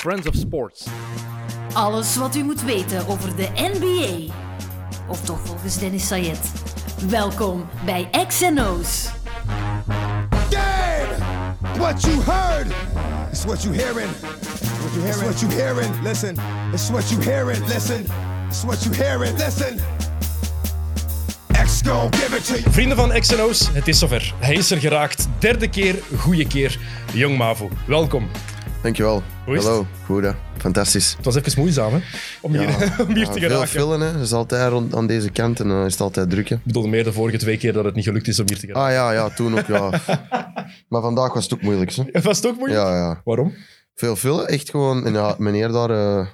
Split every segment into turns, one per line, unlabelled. Friends of Sports.
Alles wat u moet weten over de NBA. Of toch volgens Dennis Sayed. Welkom bij XNO's.
Dead! What you heard is what you hearing. It's what you hearing. Listen. It's what you hearing. Listen. It's what you hearing. Listen. X gon' give it to you.
Vrienden van XNO's, het is zover. Hij is er geraakt. Derde keer, goede keer. Jong Mavo, welkom.
Dankjewel.
Hoe is
Hallo, goede. Fantastisch.
Het was even moeizaam hè? om hier, om hier
Ja,
te
veel
geraken.
fillen, hè. Dat is altijd rond, aan deze kant en dan is het altijd druk. Hè.
Ik bedoel meer de vorige twee keer dat het niet gelukt is om hier te geraken.
Ah ja, ja, toen ook, ja. maar vandaag was het ook moeilijk, hè.
Was het ook moeilijk?
Ah. Ja, ja.
Waarom?
Veel vullen, echt gewoon. En ja, meneer daar, eh,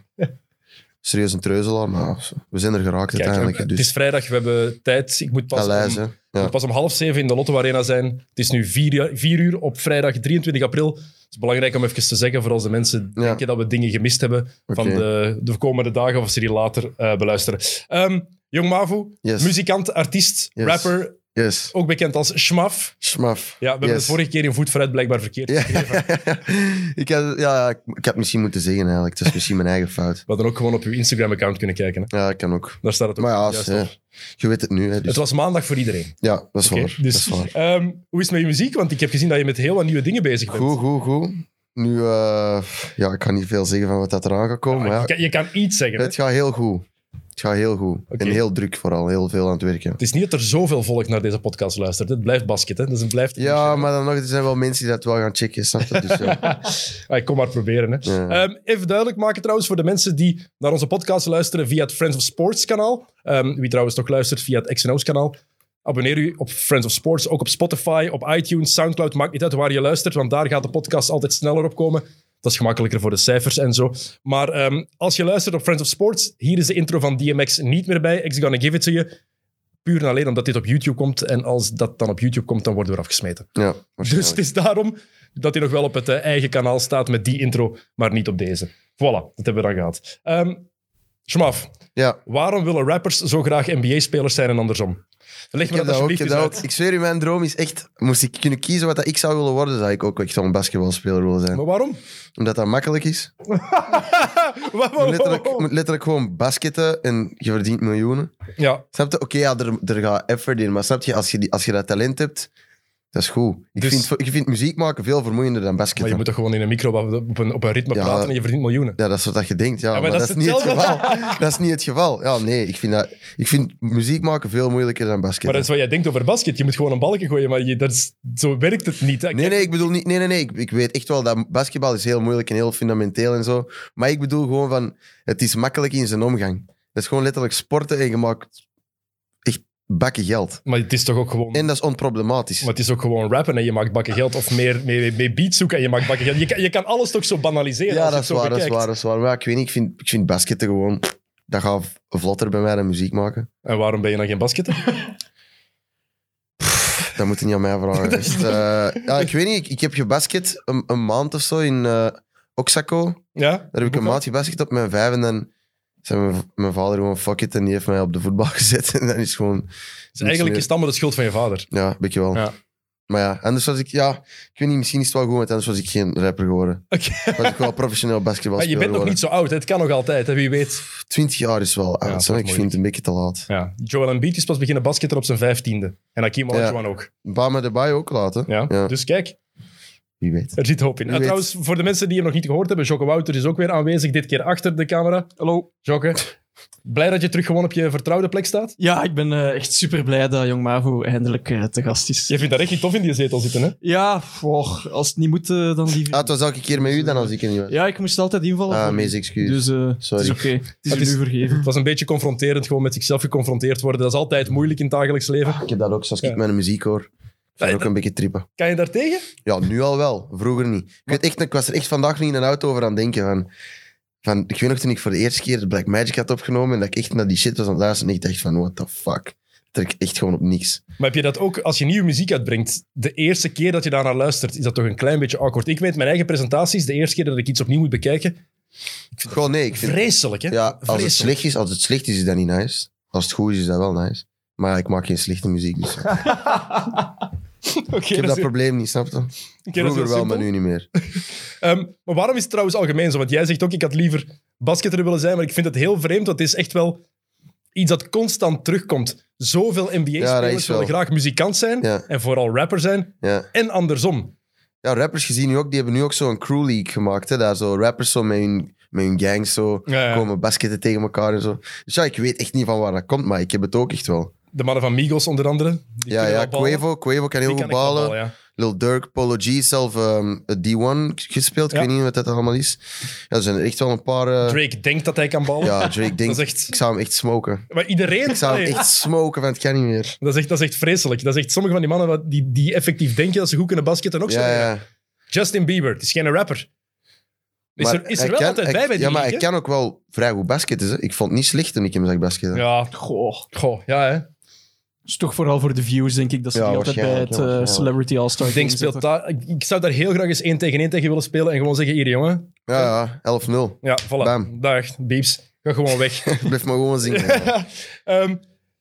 serieus een treuzelaar, maar we zijn er geraakt
Kijk,
uiteindelijk. hè.
het is
Dus,
vrijdag, we hebben tijd. Ik moet pas,
dat lijst, hè.
om, ik
Ja.
moet pas om half zeven in de Lotto Arena zijn. Het is nu vier, uur- vier uur op vrijdag 23 april. Het is belangrijk om even te zeggen, voor als de mensen
Ja.
denken dat we dingen gemist hebben van
Oké.
de, de komende dagen, of ze die later eh, beluisteren. Ehm, Jong Mavo,
Yes.
muzikant, artiest,
Yes.
rapper,
Yes.
ook bekend als Schmaf.
Schmaf.
Ja, we hebben
Yes.
het vorige keer in voet vooruit blijkbaar verkeerd.
Ja, ik had, ja, ik, ik had misschien moeten zeggen eigenlijk. Het is misschien mijn eigen fout.
We hadden ook gewoon op uw Instagram-account kunnen kijken. Hè?
Ja, ik kan ook.
Daar staat het ook
Maar ja,
juist
hè,
op.
je weet het nu. Hè, dus.
Het was maandag voor iedereen.
Ja, dat is,
Oké,
waar. dat
Dus,
is waar.
ehm, hoe is het met je muziek? Want ik heb gezien dat je met heel wat nieuwe dingen bezig bent.
Goed, goed, goed. Nu, eh, ja, ik kan niet veel zeggen van wat dat eraan gaat komen.
Ah, je,
maar ja,
kan, je kan iets zeggen. hè?
het gaat heel goed. Het gaat heel goed.
Oké.
En heel druk vooral, heel veel aan het werken.
Het is niet dat er zoveel volk naar deze podcast luistert. hè. Het blijft basket, hè? Dus het blijft...
Ja, maar dan nog, er zijn wel mensen die dat wel gaan checken, snap je? Dus, ja.
Ah, ik kom maar proberen. Hè.
Ja.
Ehm, even duidelijk maken trouwens voor de mensen die naar onze podcast luisteren via het Friends of Sports kanaal. Ehm, wie trouwens nog luistert via het XNO's kanaal. Abonneer u op Friends of Sports, ook op Spotify, op iTunes, Soundcloud. Maakt niet uit waar je luistert, want daar gaat de podcast altijd sneller op komen. Dat is gemakkelijker voor de cijfers en zo. Maar ehm, als je luistert op Friends of Sports, hier is de intro van DMX niet meer bij. X gonna give it to you. Puur en alleen omdat dit op YouTube komt. En als dat dan op YouTube komt, dan worden we er afgesmeten.
ja,
Dus
waarschijnlijk.
het is daarom dat hij nog wel op het eh, eigen kanaal staat met die intro, maar niet op deze. Voilà, dat hebben we dan gehad. Ehm Schmaf,
ja.
waarom willen rappers zo graag NBA-spelers zijn en andersom? Leg
Ik
me
heb
dat
dat ook,
alsjeblieft
ik heb
eens
dat ook.
uit.
Ik zweer u, mijn droom is echt... Moest ik kunnen kiezen wat dat ik zou willen worden, zou ik ook echt zo'n basketbalspeler willen zijn.
Maar waarom?
Omdat dat makkelijk is.
Wa-
Je
wa-
moet letterlijk,
wa-
je moet letterlijk gewoon basketten en je verdient miljoenen.
Ja,
Snap je? Oké, ja, er, er gaat effort in. Maar snap je, als je, die, als je dat talent hebt, dat is goed. Ik,
Dus-
vind, ik vind muziek maken veel vermoeiender dan
maar
basketten.
je moet toch gewoon in een micro op een, op een ritme
Ja.
praten en je verdient miljoenen.
Ja, dat is wat dat je denkt. Ja,
Ja,
maar, dat, is niet het
hetzelfde.
geval. dat is niet het geval. Ja, nee, ik vind, dat, ik vind muziek maken veel moeilijker dan basketten.
Maar dat is wat jij denkt over basket. Je moet gewoon een balken gooien, maar je, dat is, zo werkt het niet. hè.
Nee, nee, ik bedoel niet... Nee, nee, nee. Ik, ik weet echt wel dat basketbal is heel moeilijk en heel fundamenteel en zo. Maar ik bedoel gewoon van... Het is makkelijk in zijn omgang. Dat is gewoon letterlijk sporten en je maakt echt bakken geld.
Maar het is toch ook gewoon...
En dat is onproblematisch.
Maar het is ook gewoon rappen en je maakt bakken geld. Of meer, meer, meer beats zoeken en je maakt bakken geld. Je, kan- je kan alles toch zo banaliseren als
Ja,
je
dat
het
is,
zo
waar, dat is
bekijkt.
waar, dat is waar. Maar ja, ik weet niet, ik vind, ik vind basketten gewoon... Dat gaat v- vlotter bij mij dan muziek maken.
En waarom ben je dan geen basketter?
Dat moet je niet aan mij vragen. Echt, eh, ja, ik weet niet, ik, ik heb gebasket een, een maand of zo in eh Oaxaco.
Ja?
Daar heb ik een maand gebasket op mijn vijf en dan... zei mijn, mijn vader gewoon fuck it en die heeft mij op de voetbal gezet. En dan is gewoon...
Dus eigenlijk is het allemaal de schuld van je vader.
Ja, een beetje wel.
Ja.
Maar ja, anders was ik... Ja, ik weet niet, misschien is het wel goed, want anders was ik geen rapper geworden.
Oké.
Was ik wel professioneel
Maar
basketbalspeler
je bent nog
geworden.
niet zo oud, hè? het kan nog altijd, hè? wie weet.
Twintig jaar is wel
dat
oud,
is
hè. ik
moeilijk.
vind het een beetje te laat.
Ja. Joel Embiid is pas beginnen basketten op zijn vijftiende. En Hakim Olajuwon ook.
Bama de Baai ook laat, hè.
Ja? Dus kijk,
Wie weet.
er zit hoop in.
Wie
En
weet.
trouwens, voor de mensen die hem nog niet gehoord hebben, Jocke Wouter is ook weer aanwezig, dit keer achter de camera. Hallo. Jocke, blij dat je terug gewoon op je vertrouwde plek staat.
Ja, ik ben eh, echt super blij dat Jong Mavo eindelijk eh, te gast is.
Je vindt dat echt tof in die zetel zitten, hè?
Ja, goh, als het niet moet, eh, dan liever.
Ah, het was elke keer met u dan als ik er niet was.
Ja, ik moest altijd invallen.
Ah,
voor u.
mees excuus.
Dus eh,
Sorry.
het is oké. Het is
Het
u
is-
nu vergeven.
Het was een beetje confronterend, gewoon met zichzelf geconfronteerd worden. Dat is altijd moeilijk in het dagelijks leven.
Ik heb dat ook, zoals
Ja.
ik mijn muziek hoor. Ik vind
Ja,
ook een beetje trippen.
Kan je daar tegen?
Ja, nu al wel. Vroeger niet. Ik, weet echt, ik was er echt vandaag niet in een auto over aan het denken. Van, van, ik weet nog toen ik voor de eerste keer de Black Magic had opgenomen en dat ik echt naar die shit was aan het luisteren en ik dacht van, what the fuck. Trek echt gewoon op niks.
Maar heb je dat ook als je nieuwe muziek uitbrengt? De eerste keer dat je daarnaar luistert, is dat toch een klein beetje awkward? Ik weet mijn eigen presentaties, de eerste keer dat ik iets opnieuw moet bekijken.
Gewoon nee, ik vind...
Vreselijk, hè?
Ja, als het,
Vreselijk.
slecht is, als het slecht is, is dat niet nice. Als het goed is, is dat wel nice. Maar ik maak geen slechte muziek. Dus.
Oké,
Ik heb
dat
dat
is-
probleem niet, snap je?
oké, dat is
Vroeger
heel
wel,
simpel.
maar nu niet meer.
Ehm, maar waarom is het trouwens algemeen zo? Want jij zegt ook, ik had liever basketter willen zijn, maar ik vind het heel vreemd, want het is echt wel iets dat constant terugkomt. Zoveel
Ja, dat
NBA-spelers
is wel.
willen graag muzikant zijn
Ja.
en vooral rapper zijn
Ja.
en andersom.
ja, rappers gezien nu ook, die hebben nu ook zo'n crew league gemaakt. Hè, daar zo rappers zo met hun, met hun gangs zo
Ja, ja.
komen basketten tegen elkaar en zo. Dus ja, ik weet echt niet van waar dat komt, maar ik heb het ook echt wel.
De mannen van Migos onder andere. die
ja,
kunnen
ja,
wel ballen.
Quavo, Quavo kan
Die
heel
kan
goed
echt wel
ballen.
ballen, ja.
Lil Durk, Polo G, zelf ehm, het D1 gespeeld.
Ja.
Ik weet niet wat dat allemaal is. Ja, er zijn er echt wel een paar... eh,
Drake denkt dat hij kan ballen.
Ja, Drake denkt,
Dat is echt-
ik zou hem echt smoken.
Maar iedereen...
Ik zou
Allee,
hem echt smoken, want het kan niet meer.
dat, is echt, dat is echt vreselijk. Dat is echt sommige van die mannen wat- die, die effectief denken dat ze goed kunnen basketten ook zo.
Ja, ja.
Justin Bieber, het is geen rapper. Is
Maar
er, is
hij
er wel
kan-
altijd
hij-
bij bij die
Ja, maar hij
league, hè?
kan ook wel vrij goed basketten. hè. Ik vond het niet slecht toen ik hem zag basketten.
Ja, goh. Goh, ja, hè.
is toch vooral voor de views, denk ik, dat ze
Ja,
die altijd bij
waarschijnlijk,
het
ja,
eh,
waarschijnlijk.
Celebrity All-Star
Ik, denk,
Game
speelt
zitten.
daar, ik, ik zou daar heel graag eens één tegen één tegen willen spelen en gewoon zeggen, hier jongen.
Ja, ja, 11-0.
Ja, voilà.
Bam.
Dag, beeps. Ga gewoon weg.
Blijf maar gewoon zingen. Eh,
Ehm,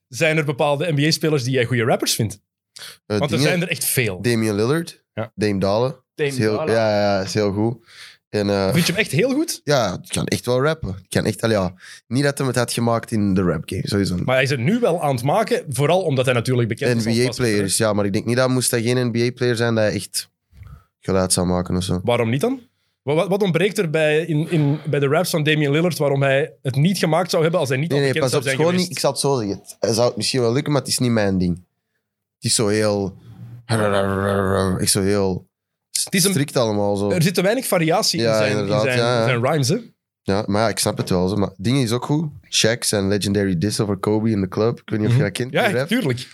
zijn er bepaalde NBA-spelers die jij goede rappers vindt? Want er
dingen-
zijn er echt veel.
Damian Lillard,
Ja.
Dame Dalen.
Dame
Is heel-
Dalla.
Ja, ja, ja, is heel goed. En eh,
Vind je hem echt heel goed?
ja, ik kan echt wel rappen. Ik kan echt, al ja, niet dat hij het had gemaakt in de rap game, sowieso.
Maar dus hij is het nu wel aan het maken, vooral omdat hij natuurlijk bekend is. als basketter.
NBA-players, ja, maar ik denk niet dat moest dat geen NBA-player zijn dat hij echt geluid zou maken of zo.
Waarom niet dan? Wat, wat- wat ontbreekt er bij, in, in, bij de raps van Damian Lillard waarom hij het niet gemaakt zou hebben als hij niet
Nee,
al
nee,
bekend
pas op.
zou
het is
zijn
Gewoon
geweest?
niet, ik zal het zo zeggen. Het zou het misschien wel lukken, maar het is niet mijn ding. Het is zo heel... Ik zo heel... Het
is
is
een-
strikt allemaal zo.
Er zit te weinig variatie in
Ja,
zijn, in
inderdaad,
zijn,
ja, ja.
zijn rhymes. Hè?
Ja, maar ja, ik snap het wel. Zo. Maar dingen is ook goed. Shaq zijn legendary diss over Kobe in de club. Ik weet niet of je dat kent. die
Mhm. Ja,
rap.
tuurlijk.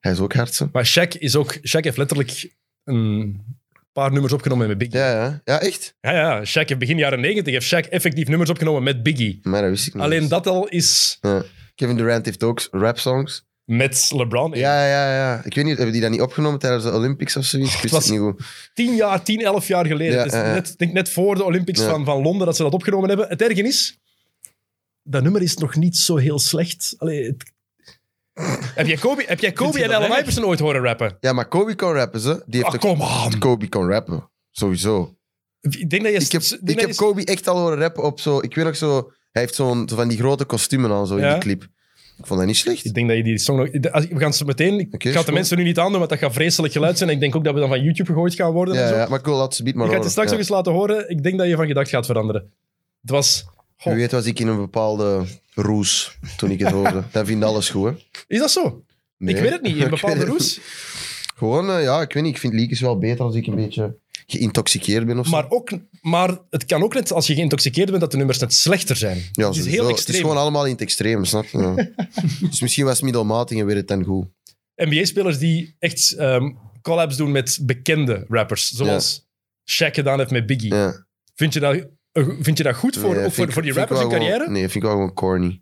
Hij is ook hard, zo.
Maar Shaq, is ook, Shaq heeft letterlijk een paar nummers opgenomen met Biggie.
Ja, ja. Ja, echt?
Ja, ja, Shaq heeft begin jaren 90 heeft Shaq effectief nummers opgenomen met Biggie.
Maar dat wist ik niet.
Alleen
eens.
dat al is
Ja. Kevin Durant heeft ook rap-songs.
met LeBron.
Ja, ja, ja. Ik weet niet, hebben die dat niet opgenomen tijdens de Olympics of zoiets? Ik wist
was-
het niet goed.
10 jaar, 10, 11 jaar geleden.
Ja,
Het is
ja, ja.
net, ik denk net voor de Olympics
Ja.
van, van Londen dat ze dat opgenomen hebben. Het erge is, dat nummer is nog niet zo heel slecht. Allee, het- heb jij Kobe, heb jij Kobe
je
en
dat
Allen
erg?
Iverson ooit horen rappen?
Ja, maar Kobe kon rappen, ze. Die
Ah,
heeft ook...
kom aan.
Kobe kon rappen. Sowieso.
Ik denk dat je...
Ik heb,
denk
ik
dat
heb
je-
Kobe echt al horen rappen op zo... Ik weet nog zo... Hij heeft zo'n zo van die grote kostumen aan zo in
Ja.
die clip. Ik vond dat niet slecht.
Ik denk dat je die song nog... als- We gaan ze meteen... Ik ga
Oké,
het
is
de
goed.
mensen nu niet aandoen, want dat gaat vreselijk geluid zijn. Ik denk ook dat we dan van YouTube gegooid gaan worden. en
Ja,
zo.
ja, maar ik wil dat ze beat maar
ik ga het je
horen.
straks
Ja.
nog eens laten horen. Ik denk dat je van gedacht gaat veranderen. Het was... Goh.
Wie weet was ik in een bepaalde roes toen ik het hoorde. Dan vind alles goed, hè.
Is dat zo?
Nee.
Ik weet het niet. In
Ik weet
bepaalde
het
roes.
niet. Gewoon, eh, ja, ik weet niet. Ik vind leakers wel beter als ik een beetje geïntoxiceerd ben of zo.
Maar, ook, maar het kan ook net, als je geïntoxiceerd bent, dat de nummers net slechter zijn.
ja,
het is
sowieso.
heel
Het is
extreem.
gewoon allemaal in het extreme, snap je? Ja. dus misschien was middelmatig en weer het dan goed.
NBA-spelers die echt ehm, collabs doen met bekende rappers, zoals Shaq gedaan heeft met Biggie.
Ja.
Vind, je dat, eh, vind je dat goed voor,
Nee,
ook
vind
voor,
ik-
voor die
vind ik
rappers
wel
hun
gewoon-
carrière?
nee, vind ik wel gewoon corny.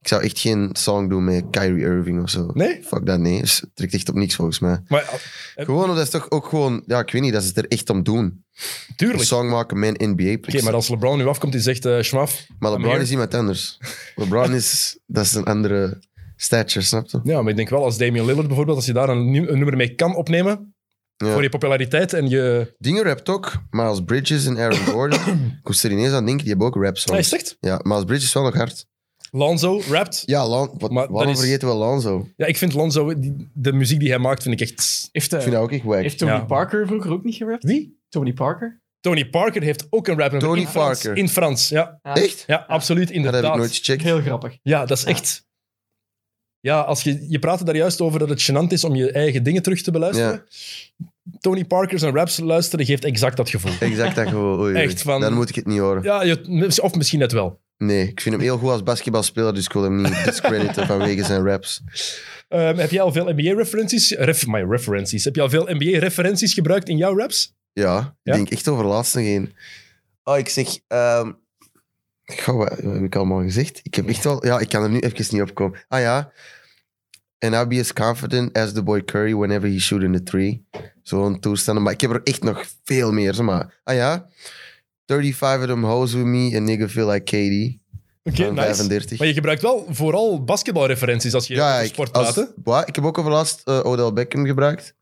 Ik zou echt geen song doen met Kyrie Irving of zo.
Nee?
Fuck dat, nee. Dus Het trekt echt op niks volgens mij.
Maar ah,
Gewoon, dat is toch ook gewoon... Ja, ik weet niet, dat ze het er echt om doen.
eh,
Een
tuurlijk. Oké,
song maken met een nba plek
maar
maar,
als LeBron nu afkomt en zegt, eh schmaf,
LeBron
Amir-
is iemand anders. LeBron is... Dat is een andere stature, snap je?
Ja, maar ik denk wel als Damian Lillard bijvoorbeeld, als je daar een, nieuw- een nummer mee kan opnemen
Ja.
voor je populariteit en je...
Dingen rapt ook, maar als Bridges en Aaron Gordon... ik moest er ineens aan denken, die hebben ook rap
Hij
songs.
zegt,
Ja, maar als Bridges is wel nog hard.
Lonzo rapt.
Ja, Lan, wat,
Maar
waarom
dat is-
vergeten we Lonzo? Ik
Ja, ik vind Lonzo, die- de muziek die hij maakt, vind ik echt...
Heeft, eh,
vind dat ook echt wack.
heeft Tony
Ja.
Parker vroeger ook niet gerapt?
Wie?
Tony Parker?
Tony Parker heeft ook een rap
Tony
in Frans.
Parker.
In Frans, ja.
Ja.
Echt?
Ja, absoluut,
Dat
inderdaad.
heb ik nooit Ah. gecheckt.
Heel grappig.
Ja, dat is echt... Ja, als je, je praatte daar juist over dat het gênant is om je eigen dingen terug te beluisteren. Tony Parker's en raps luisteren geeft exact dat gevoel.
Exact dat gewoon. Oei, oei.
Echt van-
Dan moet ik het niet horen.
Ja, je- of misschien net wel.
Nee, ik vind hem heel goed als basketbalspeler, dus ik wil hem niet discrediten vanwege zijn raps.
Ehm, heb jij al veel NBA-referenties? Ref, my referenties. Heb je al veel NBA-referenties gebruikt in jouw raps?
Ja, ik
Ja?
denk echt over laatst nog één. Oh, ik zeg... ehm goh, wat, wat heb ik allemaal gezegd? Ik heb echt wel... Ja, ik kan er nu even niet op komen. Ah ja. And I'll be as confident as the boy Curry whenever he shoot in the three. Zo'n toestanden. Maar ik heb er echt nog veel meer. zeg Maar, ah ja. 35 of them hoes with me, a nigga feel like KD.
Oké,
Van
nice.
35.
Maar je gebruikt wel vooral basketbalreferenties als je
Ja,
over
ik,
sport
als,
praat. hè?
wat, ik heb ook over laatst eh, Odell Beckham gebruikt.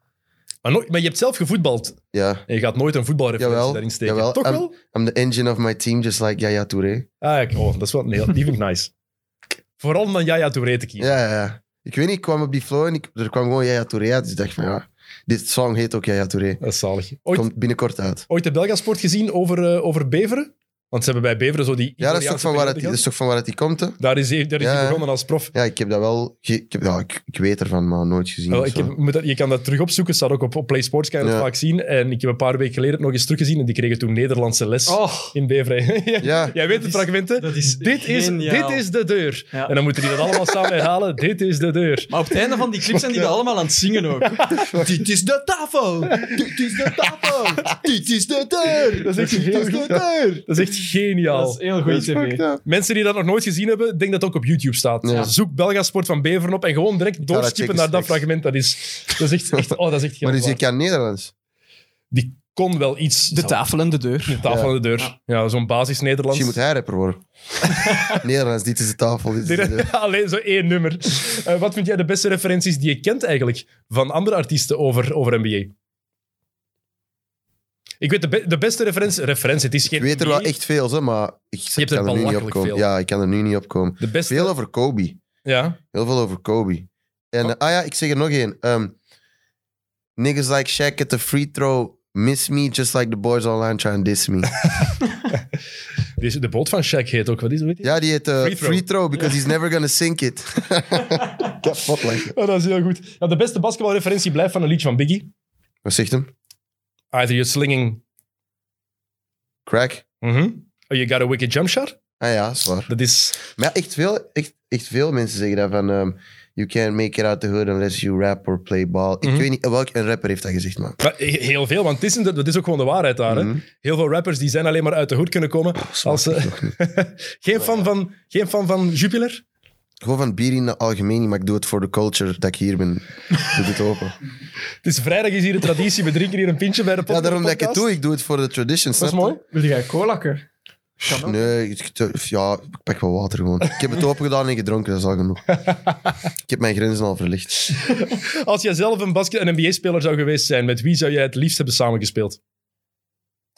Maar, nooit- maar je hebt zelf gevoetbald.
Ja.
En je gaat nooit een voetbalreferentie
Jawel,
daarin steken.
jawel.
Toch
En-
wel?
I'm the engine of my team, just like Yaya Touré.
Ah, ik- oh, dat is wel... Nee, die vind ik nice. Vooral om dan Jaya Touré te kiezen.
Ja, ja, ja. Ik weet niet, ik kwam op die flow en ik, er kwam gewoon Yaya Touré uit. Dus ik dacht van, ja, dit song heet ook Yaya Touré.
Dat is zalig. Ooit,
Komt binnenkort uit.
ooit de Belgasport gezien over, eh, over Beveren? Want ze hebben bij Beveren zo die...
Ja, dat is toch
Italiaanse
van waar het, dat
periode
is toch van waar het die komt, hè?
gehad. Daar is hij daar is hij
Ja, ja.
begonnen als prof.
Ja, ik heb dat wel... ge- ik, heb, ja, ik, ik weet ervan, maar nooit gezien.
Wel,
of
Oh, ik
zo.
heb, moet dat, je kan dat terug opzoeken. Het staat ook op, op Play Sports, kan je dat
Ja.
vaak zien. En ik heb een paar weken geleden het nog eens teruggezien. En die kregen toen Nederlandse les
Oh,
in Beveren. Ja.
Ja.
Jij weet het
Dat is-
fragment, hè?
dat is
dit, is, dit
geniaal.
is de deur.
Ja.
En dan moeten die dat allemaal samen herhalen. Dit is de deur.
maar op het einde van die clip zijn die dat allemaal aan het zingen ook. Dit is de tafel! Dit is de tafel!
Dit is de deur!
Dat is echt heel
Dit is de
goed.
deur!
Dat is echt geniaal.
Dat is heel goede tv.
Ja.
Mensen die dat nog nooit gezien hebben, ik denk dat het ook op YouTube staat.
Ja.
Zoek Belgasport van Beveren op en gewoon direct
ga dat
doorskippen naar
checken
dat
straks.
fragment. Dat is, dat is echt, echt, oh, dat is echt
Maar dus
geniaal.
je kan Nederlands.
Die kon wel iets.
De tafel en de
De
deur.
tafel
Ja.
aan de deur. Ja, zo'n basis Nederlands.
Misschien moet hij rapper worden. Nederlands, dit is de tafel, dit is de deur.
Alleen zo één nummer. Eh, wat vind jij de beste referenties die je kent eigenlijk van andere artiesten over, over NBA? Ik weet de, be- de beste referentie, referentie. Het is geen
Ik weet er wel
NBA.
echt veel, hè, maar ik
hebt er
kan er nu niet
belachelijk
op komen.
veel.
Ja, ik kan er nu niet op komen.
de beste.
Veel over Kobe.
Ja.
Heel veel over Kobe. En
Oh.
eh, ah ja, ik zeg er nog één. Ehm, Niggas like Shaq at the free throw miss me just like the boys online try and diss me.
Deze- De boot van Shaq heet ook. Wat is weet je?
ja, die heet eh,
Free
free,
throw.
throw. because he's never gonna sink it. Dat valt lekker.
Oh, dat is heel goed. Nou, de beste basketbalreferentie blijft van een liedje van Biggie.
Wat zegt hem?
Either you're slinging...
Crack?
Mhm. Or you got a wicked jump shot.
Ah ja, is waar.
Dat is...
Maar ja, echt veel, echt, echt veel mensen zeggen dat van... ehm, you can't make it out the hood unless you rap or play ball. Ik
Mhm.
weet niet, welk een rapper heeft dat gezegd, man.
Maar he- heel veel, want het is, inderdaad- dat is ook gewoon de waarheid daar.
Mhm. Oh,
Hè? Heel veel rappers die zijn alleen maar uit de hoed kunnen komen. als ze- geen, fan van, geen fan van Jupiler?
Gewoon van bier in het algemeen, maar ik doe het voor de culture dat ik hier ben. Ik doe het open.
Het is vrijdag is hier de traditie, we drinken hier een pintje bij de pod-
Ja, daarom dat ik het
podcast.
doe. Ik doe het voor de tradition.
Dat is
snap je?
mooi.
Wil jij colakker?
Nee, ik- ik- ja, ik pak wel water gewoon. Ik heb het open gedaan en gedronken, dat is al genoeg. Ik heb mijn grenzen al verlicht.
Als jij zelf een basket- en NBA-speler zou geweest zijn, met wie zou jij het liefst hebben samengespeeld?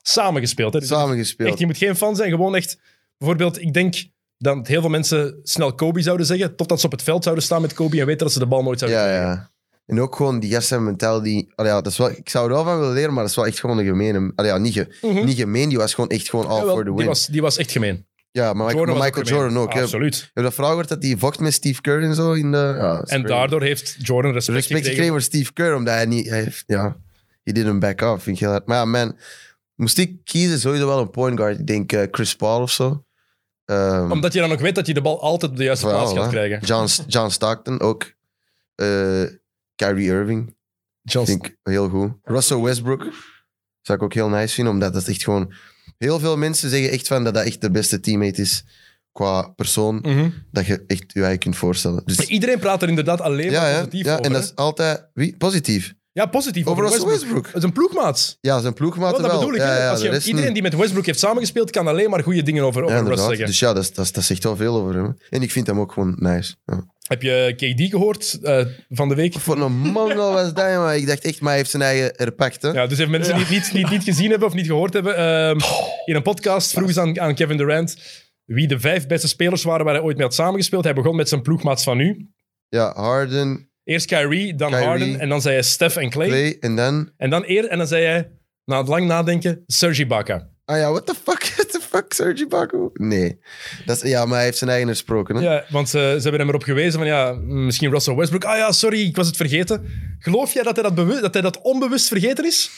Samengespeeld, hè? Dus
Samen
echt,
gespeeld.
je moet geen fan zijn, gewoon echt... Bijvoorbeeld, ik denk dat heel veel mensen snel Kobe zouden zeggen, totdat ze op het veld zouden staan met Kobe en weten dat ze de bal nooit zouden
Ja, ja. En ook gewoon die gasten mentaal die... Allee, ja, dat is wel, ik zou er wel van willen leren, maar dat is wel echt gewoon een gemene... Allee, ja, niet, ge-
Mhm.
niet gemeen, die was gewoon echt gewoon all
Jawel,
for the
die,
win.
was, die was echt gemeen.
ja, maar Michael,
Jordan was
Michael
gemeen.
Jordan ook. hè. Heb
Absoluut.
je dat verhaal gehoord dat hij vocht met Steve Kerr en zo? In de, ja, dat is
En
crazy.
daardoor heeft Jordan respect,
respect
gekregen.
gekregen voor Steve Kerr, omdat hij niet... Hij heeft, ja, he didn't back off, vind ik heel hard. Maar ja, man, moest ik kiezen, sowieso wel een point guard. Ik denk eh, Chris Paul of zo. Ehm,
Omdat je dan ook weet dat je de bal altijd op de juiste
Wel,
plaats gaat
hè.
krijgen.
John, John Stockton ook. Eh, Kyrie Irving,
Johnson.
vind ik heel goed. Russell Westbrook zou ik ook heel nice vinden, omdat dat echt gewoon... Heel veel mensen zeggen echt van dat dat echt de beste teammate is qua persoon,
Mhm.
dat je echt je eigen kunt voorstellen. Dus,
Iedereen praat er inderdaad alleen
ja,
maar
ja,
positief
ja,
over.
en dat
hè.
is altijd... Wie? Positief.
Ja, positief
Over
over,
Russell
Westbrook.
Westbrook.
Het is een ploegmaat.
Ja, zijn ploegmaat
Wel, dat
wel.
bedoel ik.
ja,
hè.
ja,
Als
de
je-
rest
iedereen
niet.
die met Westbrook heeft samengespeeld, kan alleen maar goede dingen over,
Ja,
over Russ
inderdaad.
zeggen.
Dus ja, dat, is- dat, is- dat zegt wel veel over hem. En ik vind hem ook gewoon nice. Ja.
Heb je KD gehoord eh, van de week?
Wat voor een mongol was dat, maar ik dacht echt, maar hij heeft zijn eigen herpakt. Hè?
Ja, dus even mensen die het niet, niet, niet gezien hebben of niet gehoord hebben. ehm, in een podcast vroegen ze aan, aan Kevin Durant wie de vijf beste spelers waren waar hij ooit mee had samengespeeld. Hij begon met zijn ploegmaats van nu.
Ja, Harden,
Eerst Kyrie, dan
Kyrie.
Harden en dan zei hij Steph en Clay.
Clay en dan...
En dan eer, en dan zei hij, na het lang nadenken, Serge Ibaka.
Ah ja, what the fuck? What the fuck, Sergi Baku? Nee. Dat is, ja, maar hij heeft zijn eigen gesproken. Hè?
Ja, want eh, ze, ze hebben hem erop gewezen van, ja, mm, misschien Russell Westbrook. Ah ja, sorry, ik was het vergeten. Geloof jij dat hij dat, bewust, dat, hij dat onbewust vergeten is?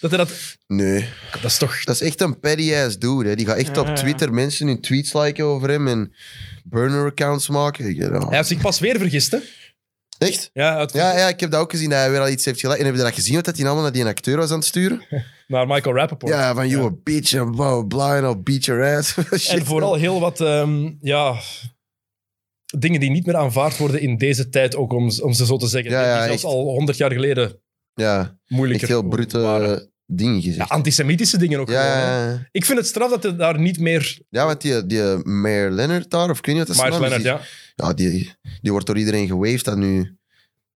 Dat hij dat...
Nee.
Dat is toch...
Dat is echt een petty-ass dude. Hè? Die gaat echt
Ja, ja.
op Twitter mensen hun tweets liken over hem en burner-accounts maken. Ja,
Hij heeft zich pas weer vergist, hè?
Echt?
Ja, uit,
Ja, ja, ik heb dat ook gezien, dat hij weer al iets heeft gelijk. En heb je dat gezien, wat dat hij allemaal naar die acteur was aan het sturen?
naar Michael Rappaport.
Ja, van you a bitch en bla bla bla, en I'll beat your ass. Shit.
En vooral heel wat, ehm, ja... Dingen die niet meer aanvaard worden in deze tijd, ook om, om ze zo te zeggen.
Ja, ja,
die zelfs
echt.
al honderd jaar geleden
Ja, echt
moeilijker
heel brute
waren.
eh, dingen
Ja,
gezegd.
antisemitische dingen ook
Ja,
gewoon, hè.
ja, ja.
Ik vind het straf dat hij daar niet meer...
ja, want die, die eh, Mayor Leonard daar, of kun je wat dat
Myers
zijn naam is,
Leonard, ja.
die- ja, die, die wordt door iedereen gewaved dat nu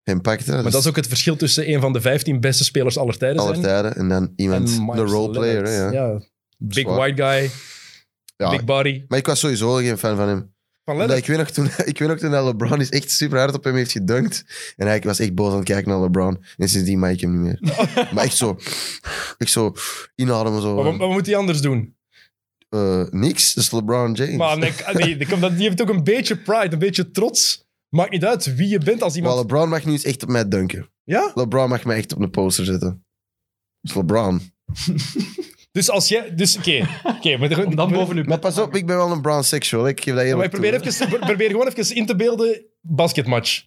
hem pakte.
Maar dat is ook het verschil tussen een van de 15 beste spelers aller tijden
alle
zijn
tijden. En dan iemand,
en
de
Myers
roleplayer.
Leonard.
hè, Ja.
Big
Zwaar.
white guy,
Ja,
big body.
Maar ik was sowieso geen fan van hem.
Van
Omdat
Leonard.
ik, weet nog toen, ik weet nog toen dat LeBron is echt super hard op hem heeft gedunkt. En hij was echt boos aan het kijken naar LeBron. En sindsdien maak ik hem niet meer. maar echt zo... Ik zo inademen zo.
Maar wat, wat moet hij anders doen?
eh, niks, dat is LeBron James.
Maar nee, nee, die komt- die heeft ook een beetje pride, een beetje trots. Maakt niet uit wie je bent als
Maar
iemand...
LeBron mag nu eens echt op mij dunken.
Ja?
LeBron mag mij echt op een poster zetten. Dat is LeBron.
Dus als jij... Dus oké. oké, maar de-
Om dan boven uw
Maar pas op, ik ben wel een brown sexual. hè. Ik geef dat
Maar
eerlijk
ik probeer,
toe.
even, pro- probeer gewoon even in te beelden. Basketmatch.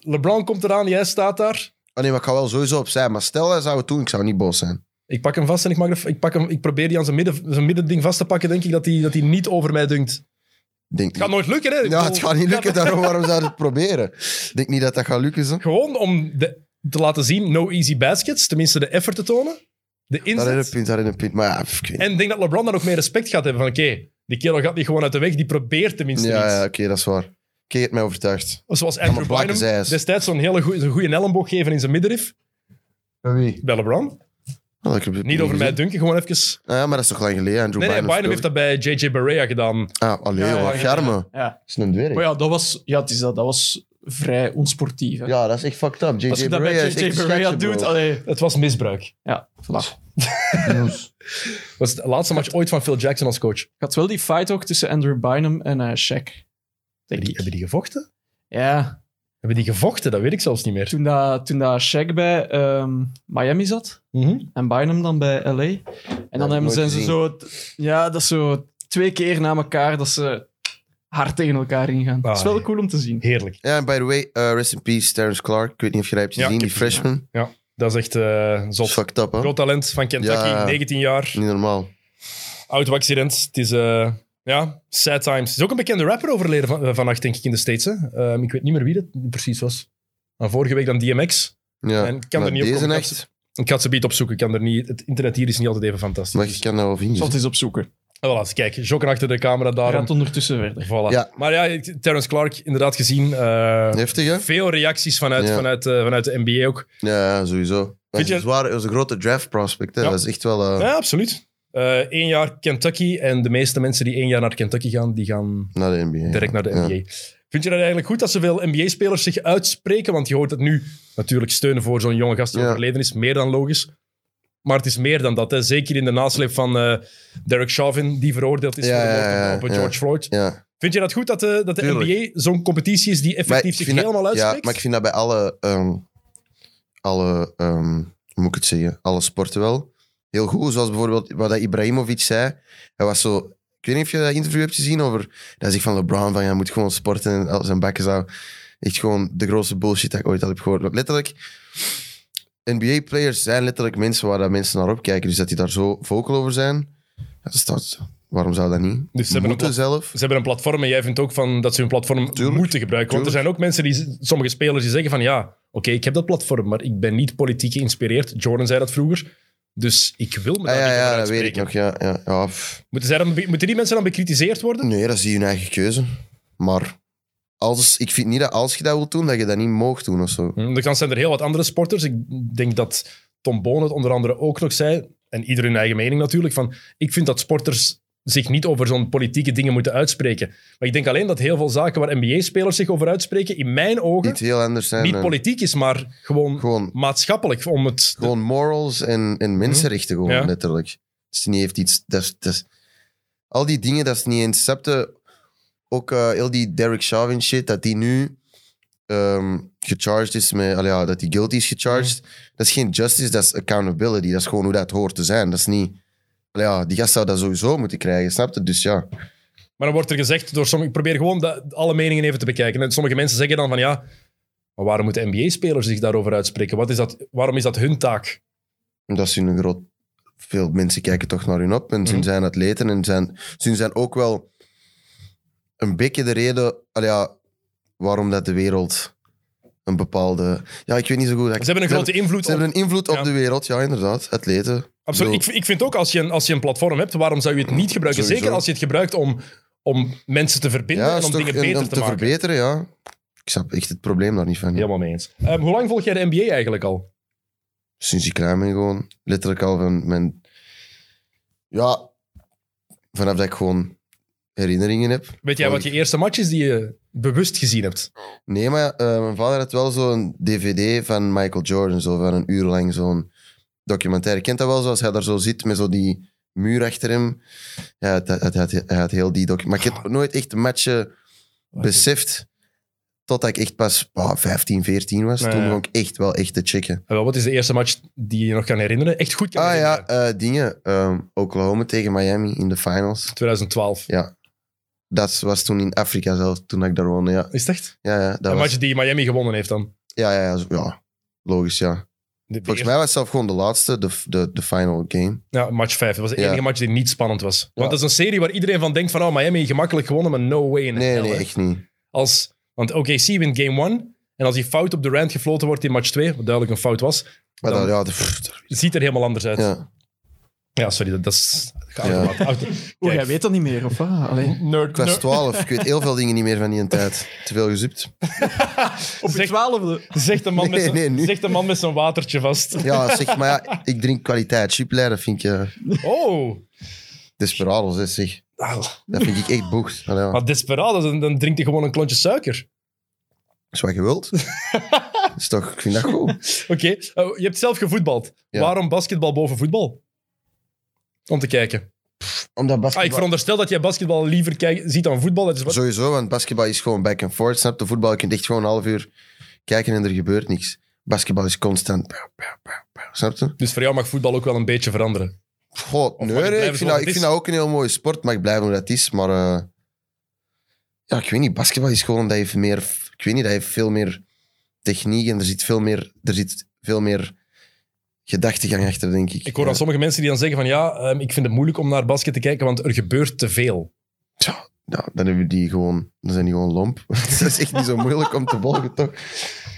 LeBron komt eraan, jij staat daar.
Oh nee, maar ik ga wel sowieso opzij. Maar stel, hij zou het doen, ik zou niet boos zijn.
Ik pak hem vast en ik, maak de- ik, pak hem, ik probeer die aan zijn, midden, zijn middending vast te pakken. Denk ik dat hij dat hij niet over mij dunkt.
Ik Denk
Het gaat
niet-
nooit lukken, hè? Ik
ja,
bedoel,
het gaat niet lukken,
gaat-
daarom waarom zou je het proberen? Ik denk niet dat dat gaat lukken. Zo.
Gewoon om de, te laten zien, no easy baskets. Tenminste, de effort te tonen. De
Daar is een
inzet.
punt, daar is een punt. Maar ja, pff, ik weet niet.
En ik denk dat LeBron dan ook meer respect gaat hebben. Van oké, die kerel gaat niet gewoon uit de weg. Die probeert tenminste
Ja, ja
iets.
oké, dat is waar. Oké, je hebt mij overtuigd.
Zoals Andrew
maar blakken zij
Bynum
is.
destijds zo'n hele goeie- zo'n goede elleboog geven in zijn middenrif.
Wie?
Bij LeBron.
Oh,
Niet over mij dunken, gewoon even...
Ah, ja, maar dat is toch lang geleden, Andrew
Nee, nee, Bynum heeft
speelde.
dat bij J.J. Barea gedaan.
Ah, allee,
Ja,
joh,
ja,
wat
ja,
garmen.
Ja.
is een dwerg.
Maar
Ja.
ja, dat was, ja, het is dat, dat was vrij onsportief. Hè.
dat is echt fucked up.
Als
J.J.
je dat bij
Barea is echt
JJ Barea
schatje,
doet,
bro.
allee.
Het was misbruik.
Ja, voilà.
Dat was de laatste match ooit van Phil Jackson als coach.
Ik had wel die fight ook tussen Andrew Bynum en eh Shaq. Denk
Hebben die,
ik.
hebben die gevochten?
Ja,
Hebben die gevochten? Dat weet ik zelfs niet meer.
toen dat, toen dat Shaq bij ehm, Miami zat
Mhm.
en Bynum dan bij LA. En dan hebben,
nooit
zijn ze
gezien.
zo... t- Ja, dat is zo twee keer na elkaar dat ze hard tegen elkaar ingaan. Dat is wel
nee.
cool om te zien.
Heerlijk.
Ja, en by the way, eh, rest in peace, Terrence Clark. Ik weet niet of je dat hebt
Ja,
gezien,
ik
die freshman.
Dat is echt eh
Dat is
zot.
fucked up, hè?
Groot talent van Kentucky,
Ja.
19 jaar.
Niet normaal.
Auto-accident. Het is, eh, ja, sad times. Er is ook een bekende rapper overleden van, eh, vannacht, denk ik, in de States. Hè? Ehm, ik weet niet meer wie dat precies was. Maar vorige week dan DMX.
Ja.
En ik kan
maar
er niet op
deze
komen.
echt,
Ik ga het ze beat opzoeken. Ik kan er niet, het internet hier is niet altijd even fantastisch.
maar je kan dat wel
Ik zal
vinden.
het eens opzoeken.
Ah, voilà, kijk, jokken achter de camera
Hij
daarom.
gaat ondertussen verder.
Voilà.
Ja.
Maar ja, Terence Clark, inderdaad gezien. eh,
Heftig, hè?
veel reacties vanuit,
Ja.
vanuit, eh, vanuit de NBA ook.
Ja, ja, sowieso. Dat
Vind
is,
je-
een zware, dat is een grote draft prospect. Hè.
Ja.
Dat is echt wel... eh,
Ja, absoluut. Eén jaar Kentucky en de meeste mensen die één jaar naar Kentucky gaan, die gaan
Naar de NBA.
direct naar de
Ja.
NBA. Vind je dat eigenlijk goed dat zoveel NBA-spelers zich uitspreken? Want je hoort het nu natuurlijk steunen voor zo'n jonge gast die
Ja.
overleden is, meer dan logisch. Maar het is meer dan dat, hè. zeker in de nasleep van eh, Derek Chauvin, die veroordeeld is
Ja,
voor de moord
ja, ja,
op, op
ja.
George Floyd.
Ja.
Vind je dat goed dat de, dat de
Tuurlijk.
NBA zo'n competitie is die
Maar ik
effectief zich
vind dat-
helemaal uitspreekt?
Ja, maar ik vind dat bij alle... ehm, alle ehm, hoe moet ik het zeggen? Alle sporten wel. Heel goed. Zoals bijvoorbeeld wat dat Ibrahimovic zei. Hij was zo... Ik weet niet of je dat interview hebt gezien over... Dat zegt van LeBron van, hij moet gewoon sporten en al zijn bakken zou... Echt gewoon de grootste bullshit dat ik ooit al heb gehoord. Want Letterlijk... NBA-players zijn letterlijk mensen waar dat mensen naar opkijken. Dus dat die daar zo vocal over zijn... Dat is dat. Waarom zou dat niet?
Dus ze hebben
Moeten
een
zelf.
Ze hebben een platform en jij vindt ook van dat ze hun platform
Tuurlijk,
moeten gebruiken. Want er zijn ook mensen, die, sommige spelers, die zeggen van ja, oké, ik heb dat platform, maar ik ben niet politiek geïnspireerd. Jordan zei dat vroeger. Dus ik wil me daar
Ah, ja,
niet over
ja, dat weet ik
uitspreken.
nog. Ja, ja, ja, pff.
Moeten, zij dan be- moeten die mensen dan bekritiseerd worden?
Nee, dat is hun eigen keuze. Maar als, ik vind niet dat als je dat wilt doen, dat je dat niet mocht doen of zo.
Hm, Dan zijn er heel wat andere sporters. Ik denk dat Tom Boon het onder andere ook nog zei, en ieder hun eigen mening natuurlijk, van ik vind dat sporters zich niet over zo'n politieke dingen moeten uitspreken. Maar ik denk alleen dat heel veel zaken waar NBA-spelers zich over uitspreken, in mijn ogen,
Niet
niet,
heel anders zijn. dan-
politiek is, maar gewoon
Gewoon,
maatschappelijk om het.
gewoon morals en, en mensenrechten, gewoon,
Mhm. Ja.
letterlijk. Het is niet heeft iets... Dat is, dat is- al die dingen, dat is niet eens... Cepte, ook eh, heel die Derek Chauvin shit, dat die nu ehm, gecharged is met... allee, ja, dat die guilty is gecharged.
Mhm.
Dat is geen justice, dat is accountability. Dat is gewoon hoe dat hoort te zijn. Dat is niet... allee, ja, die gast zou dat sowieso moeten krijgen, snap je? Dus ja...
Maar dan wordt er gezegd door sommigen. Ik probeer gewoon dat, alle meningen even te bekijken. En sommige mensen zeggen dan van ja. Maar waarom moeten NBA-spelers zich daarover uitspreken? Wat is dat, waarom is dat hun taak?
Omdat ze een groot... Veel mensen kijken toch naar hun op en ze
Mhm.
zijn atleten en zijn, ze zijn ook wel een beetje de reden al ja, waarom dat de wereld een bepaalde... Ja, ik weet niet zo goed. dat ik-
Ze hebben een grote invloed.
Ze hebben
op-
een invloed op
Ja.
de wereld, ja, inderdaad. Atleten.
Absoluut.
bedoel-
Ik, ik vind ook als je, een, als je een platform hebt, waarom zou je het niet gebruiken?
Sowieso.
Zeker als je het gebruikt om, om mensen te verbinden
Ja,
en
is
om
toch-
dingen
en-
beter
om
te,
te
maken.
verbeteren, ja. Ik snap echt het probleem daar niet van.
Helemaal mee eens. Ehm, hoe lang volg jij de NBA eigenlijk al?
Sinds ik klein ben gewoon. Letterlijk al van mijn... Ja, vanaf dat ik gewoon herinneringen heb.
Weet jij wat je eerste match is die je bewust gezien hebt?
Nee, maar eh, mijn vader had wel zo'n dvd van Michael Jordan, zo van een uur lang zo'n documentaire. Kent dat wel, zoals hij daar zo zit met zo die muur achter hem. Ja, het- het- het- het- hij had heel die documentaire. Maar ik heb nooit echt de matchen beseft, totdat ik echt pas ah, 15, 14 was.
Nee,
Toen
ja.
begon ik echt wel echt te checken.
En wel, wat is de eerste match die je nog kan herinneren? Echt goed kan
Ah
herinneren.
ja, eh, dingen. Ehm, Oklahoma tegen Miami in de finals.
2012.
Ja. Dat was toen in Afrika zelf, toen ik daar woonde. Ja,
Is het echt?
ja, ja, dat
een
was,
match die Miami gewonnen heeft dan.
ja, ja, ja, zo- ja. Logisch, ja.
De- de
Volgens
eerste-
mij was het zelf gewoon de laatste, de, de, de final game.
Ja, match 5. Dat was de
Ja.
enige match die niet spannend was. Want
Ja.
dat is een serie waar iedereen van denkt van oh, Miami gemakkelijk gewonnen, maar no way in
Nee,
hell,
nee,
hè.
echt niet.
Als, want OKC wint game 1. En als die fout op de rand gefloten wordt in match 2, wat duidelijk een fout was,
Maar
Dan-
dan, ja, de- pff,
ziet er helemaal anders uit. Ja,
ja.
sorry, dat, dat is...
Ja.
Auto-
Oh, jij
Kijk,
weet dat niet meer, of wat? Allee.
Nerd,
Ik was
nerd.
12, ik weet heel veel dingen niet meer van die tijd. Te veel gezupt.
Op je
Zeg-
twaalfde.
Zegt een man, met
Nee,
zijn-
nee, nu.
zegt een man met zijn watertje vast.
Ja, zeg, maar ja, ik drink kwaliteit. Chipleider vind ik eh,
Oh.
desperados, hè, zeg.
Au.
Dat vind ik echt boeg. Allee, ja.
Maar desperado, dan, dan drinkt hij gewoon een klontje suiker.
is wat je wilt. Dat is toch, ik vind dat goed.
Oké, eh, je hebt zelf gevoetbald.
Ja.
Waarom basketbal boven voetbal? Om te kijken.
Omdat
Ah, ik
basketbal...
veronderstel dat jij basketbal liever kijkt, ziet dan voetbal. Dat is wat...
Sowieso, want basketbal is gewoon back and forth. Snap je? Voetbal, je kunt echt gewoon een half uur kijken en er gebeurt niks. Basketbal is constant... pow, pow, pow, pow. Snap je?
Dus voor jou mag voetbal ook wel een beetje veranderen.
Goh,
mag
nee,
het
nee,
blijven
ik, vind
zoals het
dat, ik vind
is?
dat ook een heel mooie sport. Mag blijven hoe dat is. Maar eh, ja, ik weet niet. Basketbal is gewoon dat heeft meer. Ik weet niet, dat heeft veel meer techniek en er zit veel meer, er zit veel meer gedachtegang achter, denk ik.
Ik hoor aan
Ja.
sommige mensen die dan zeggen van ja, ehm, ik vind het moeilijk om naar basket te kijken, want er gebeurt te veel.
Tja, nou, dan, hebben die gewoon, dan zijn die gewoon lomp. dat is echt niet zo moeilijk om te volgen, toch?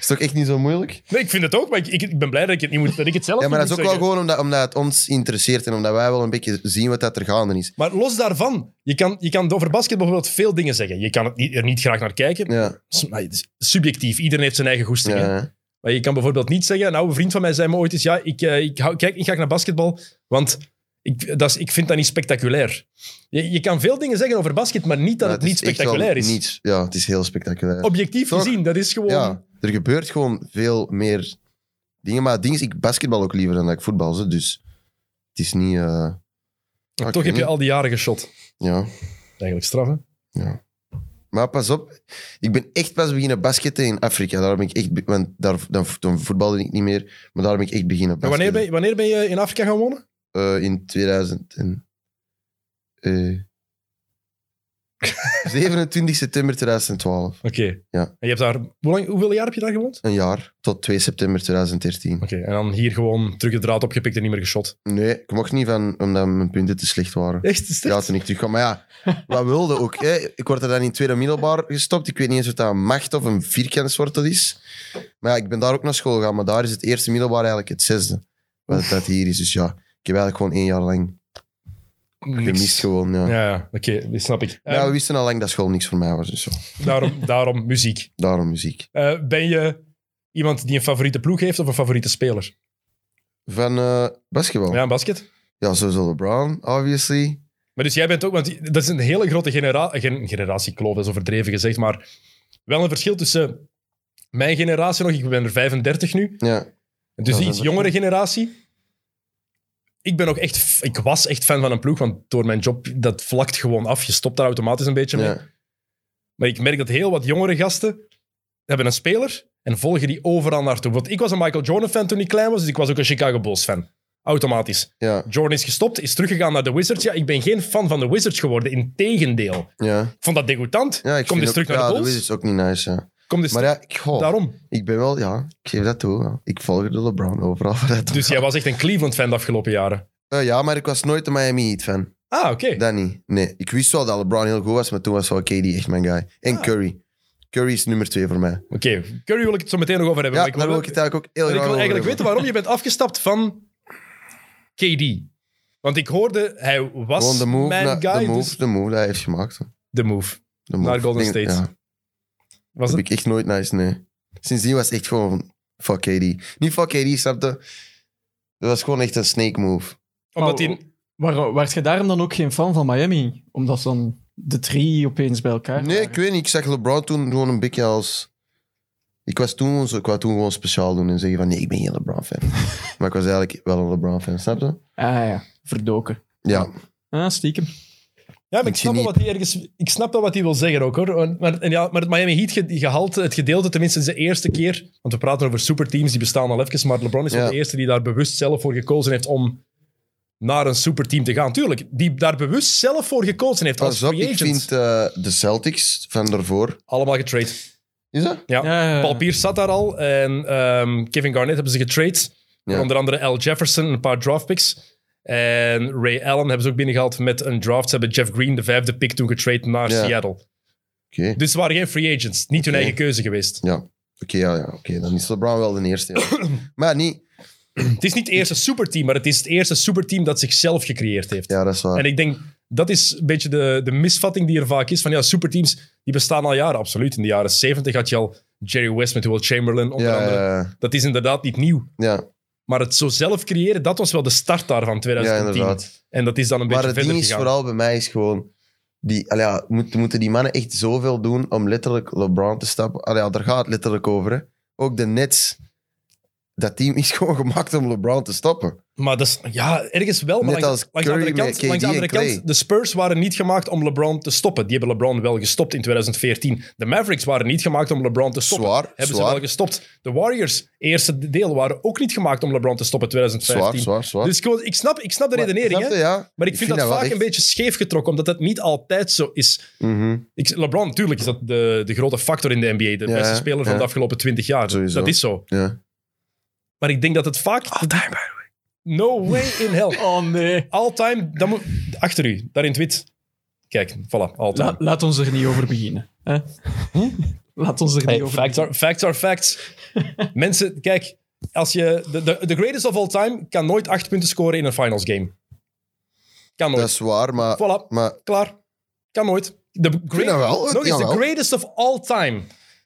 is toch echt niet zo moeilijk?
Nee, ik vind het ook, maar ik, ik, ik ben blij dat ik het, niet moet, dat ik het zelf
Ja, maar dat
niet
is ook
moet
wel
zeggen.
gewoon omdat, omdat het ons interesseert en omdat wij wel een beetje zien wat dat er gaande is.
Maar los daarvan, je kan, je kan over basket bijvoorbeeld veel dingen zeggen. Je kan het niet- er niet graag naar kijken.
Ja,
S- maar het is Subjectief, iedereen heeft zijn eigen goesting. hè.
ja.
Maar je kan bijvoorbeeld niet zeggen, een oude vriend van mij zei me ooit eens, ja, ik, eh, ik, hou, kijk niet graag naar basketbal, want ik, dat is, ik vind dat niet spectaculair. Je, je kan veel dingen zeggen over basket, maar niet dat
Ja,
het, niet
echt wel
spectaculair is.
niets. ja, het is heel spectaculair.
Objectief
Toch?
gezien, dat is gewoon...
Ja, er gebeurt gewoon veel meer dingen. Maar het ding is, ik basketbal ook liever dan dat ik voetbal. zo, Dus het is niet... eh,
Maar
ik
toch
weet
heb je
niet.
al die jaren geschot.
Ja.
Eigenlijk straf, hè?
Maar pas op, ik ben echt pas beginnen basketten in Afrika. Daar ben ik echt... be- Want daar, dan, toen voetbalde ik niet meer, maar daar ben ik echt beginnen
Maar wanneer
basketten.
ben, je- wanneer ben je in Afrika gaan wonen?
Eh, in 2000 en... eh, 27 september 2012.
Oké.
Ja.
En je hebt daar... Hoe lang, hoeveel jaar heb je daar gewoond?
Een jaar tot 2 september 2013.
Oké, en dan hier gewoon terug de draad opgepikt en niet meer geschot.
Nee, ik mocht niet van omdat mijn punten te slecht waren.
Echt? Is
Ja,
dat-
toen ik terugkwam. Maar ja, wat wilde ook. Hè? Ik word er dan in het tweede middelbaar gestopt. Ik weet niet eens of dat een macht of een vierkantswort dat is. Maar ja, ik ben daar ook naar school gegaan. Maar daar is het eerste middelbaar eigenlijk het zesde. Wat dat hier is. Dus ja, ik heb eigenlijk gewoon één jaar lang
Niks.
gemist gewoon. Ja.
Ja, ja, oké, dat snap ik.
Maar ja,
Ehm,
we wisten al lang dat school niks voor mij was. Dus ja,
daarom, daarom muziek.
daarom muziek.
Eh, ben je iemand die een favoriete ploeg heeft of een favoriete speler?
Van eh, basketbal. Ja.
Ja, basket.
sowieso LeBron, obviously.
Maar dus jij bent ook, want dat is een hele grote genera gen generatiekloof, dat is overdreven gezegd, maar wel een verschil tussen mijn generatie nog, ik ben er 35 nu,
Ja.
en dus
Ja,
die
dat
iets
is
jongere generatie. Ik ben ook echt, f- ik was echt fan van een ploeg, want door mijn job, dat vlakt gewoon af. Je stopt daar automatisch een beetje mee.
ja.
Maar ik merk dat heel wat jongere gasten hebben een speler en volgen die overal naartoe. Want ik was een Michael Jordan-fan toen ik klein was, dus ik was ook een Chicago Bulls-fan. Automatisch.
Ja,
Jordan is gestopt, is teruggegaan naar de Wizards. Ja, ik ben geen fan van de Wizards geworden, integendeel.
ja.
Ik vond dat degoutant.
ja ik
Kom
vind
dus
ook-
terug naar
ja,
de
dat
Bulls.
is ook niet nice. Ja.
Kom dus
Maar ja, oh. ik, goh,
Daarom.
ik ben wel, ja, ik geef dat toe. ja. Ik volg de LeBron overal. waar dat
Dus jij was echt een Cleveland-fan de afgelopen jaren.
Eh, ja, maar ik was nooit een Miami Heat fan.
Ah, oké.
Dat niet. Nee, ik wist wel dat LeBron heel goed was, maar toen was wel KD echt mijn guy.
Ah.
En Curry. Curry is nummer twee voor mij.
Oké, Curry wil ik het zo meteen nog over hebben.
Ja,
maar ik
daar
wil,
wil ik het eigenlijk ook heel
ik
graag
wil
over
eigenlijk weten
hebben.
waarom je bent afgestapt van KD. Want ik hoorde, hij was
Gewoon de move,
mijn
na-
guy,
de, move
dus
de move dat hij heeft gemaakt. hoor.
de move.
De move.
Naar Golden
Ik denk-
State.
Ja.
Was
Heb
het?
ik echt nooit nice, nee. Sindsdien was het echt gewoon van, fuck KD. Niet fuck KD, snapte. Dat was gewoon echt een snake move.
Omdat
Oh,
hij...
Waar, waart je daarom dan ook geen fan van Miami? Omdat dan de drie opeens bij elkaar
Nee,
waren.
ik weet niet. Ik zag LeBron toen gewoon een beetje als... Ik, was toen, gewoon zo- ik wou toen gewoon speciaal doen en zeggen van nee, ik ben geen LeBron-fan. maar ik was eigenlijk wel een LeBron-fan, snap je?
Ah ja, verdoken.
Ja.
Ah, stiekem.
Ja, maar ik
Moet je
snap, wel
niet-
wat hij ergens, ik snap wel wat hij wil zeggen ook, hoor. En- Maar, en ja, maar het Miami Heat ge- gehalte, het gedeelte, tenminste de eerste keer... Want we praten over superteams, die bestaan al even, maar LeBron is wel
Ja.
de eerste die daar bewust zelf voor gekozen heeft om naar een superteam te gaan. Tuurlijk, die daar bewust zelf voor gekozen heeft als
Pas op,
free
ik
agent.
vind eh, de Celtics van daarvoor...
Allemaal getrade.
Is dat?
Ja.
Ja, ja,
Paul Pierce zat daar al en ehm, Kevin Garnett hebben ze getrade.
Ja.
Onder andere Al Jefferson, en een paar draftpicks. En Ray Allen hebben ze ook binnengehaald met een draft. Ze hebben Jeff Green, de vijfde pick, toen getrade naar
Ja.
Seattle.
Oké.
Dus ze waren geen free agents. Niet hun
Oké.
eigen keuze geweest.
Ja. Oké, ja, ja. oké. dan is LeBron wel de eerste. ja. maar niet...
Het is niet het eerste superteam, maar het is het eerste superteam dat zichzelf gecreëerd heeft.
Ja, dat is waar.
En ik denk, dat is een beetje de, de misvatting die er vaak is. Van ja, superteams, die bestaan al jaren. Absoluut. In de jaren 70 had je al Jerry West met Will Chamberlain, onder
ja,
andere.
ja,
Dat is inderdaad niet nieuw.
ja,
Maar het zo zelf creëren, dat was wel de start daarvan,
ja,
2010.
inderdaad.
en dat is dan een
Maar
beetje
het
verder
ding is
gegaan.
vooral bij mij is gewoon... Die, allee, ja, moet, moeten die mannen echt zoveel doen om letterlijk LeBron te stappen? Allee, ja, daar gaat het letterlijk over. Hè. Ook de Nets. Dat team is gewoon gemaakt om LeBron te stappen.
Maar dat is, ja, ergens wel. Maar
Net
langs,
als
langs de andere
Curry
kant, langs
met
de
KD en
andere
Klay.
kant, de Spurs waren niet gemaakt om LeBron te stoppen. Die hebben LeBron wel gestopt in 2014. De Mavericks waren niet gemaakt om LeBron te stoppen.
Zwaar,
hebben ze
zwaar.
wel gestopt. De Warriors, eerste deel, waren ook niet gemaakt om LeBron te stoppen in
Zwaar,
2015.
zwaar, zwaar.
Dus gewoon, ik, snap, ik snap de redenering,
Snap
hè?
je? Ja,
maar ik vind, dat
wel
vaak
echt-
een beetje scheef getrokken, omdat dat niet altijd zo is.
Mhm.
Ik, LeBron, natuurlijk, is dat de, de grote factor in de NBA. De
Ja,
beste speler van
ja.
de afgelopen 20 jaar.
Sowieso.
Dat is zo.
Ja.
Maar ik denk dat het vaak... All-time, by the way. No way in hell.
Oh nee.
All-time, dan moet... Achter u, daar in het wit. Kijk, voilà, all-time.
La- laat ons er niet over beginnen. Hè? Laat ons er niet
Hey,
over
facts, are, facts are facts. Mensen, kijk, als je... De, de, de greatest of all time kan nooit acht punten scoren in een finals game. Kan nooit.
Dat is waar, maar...
Voilà,
maar
klaar. Kan nooit. De great,
dat wel,
nog eens, de
jawel.
greatest of all time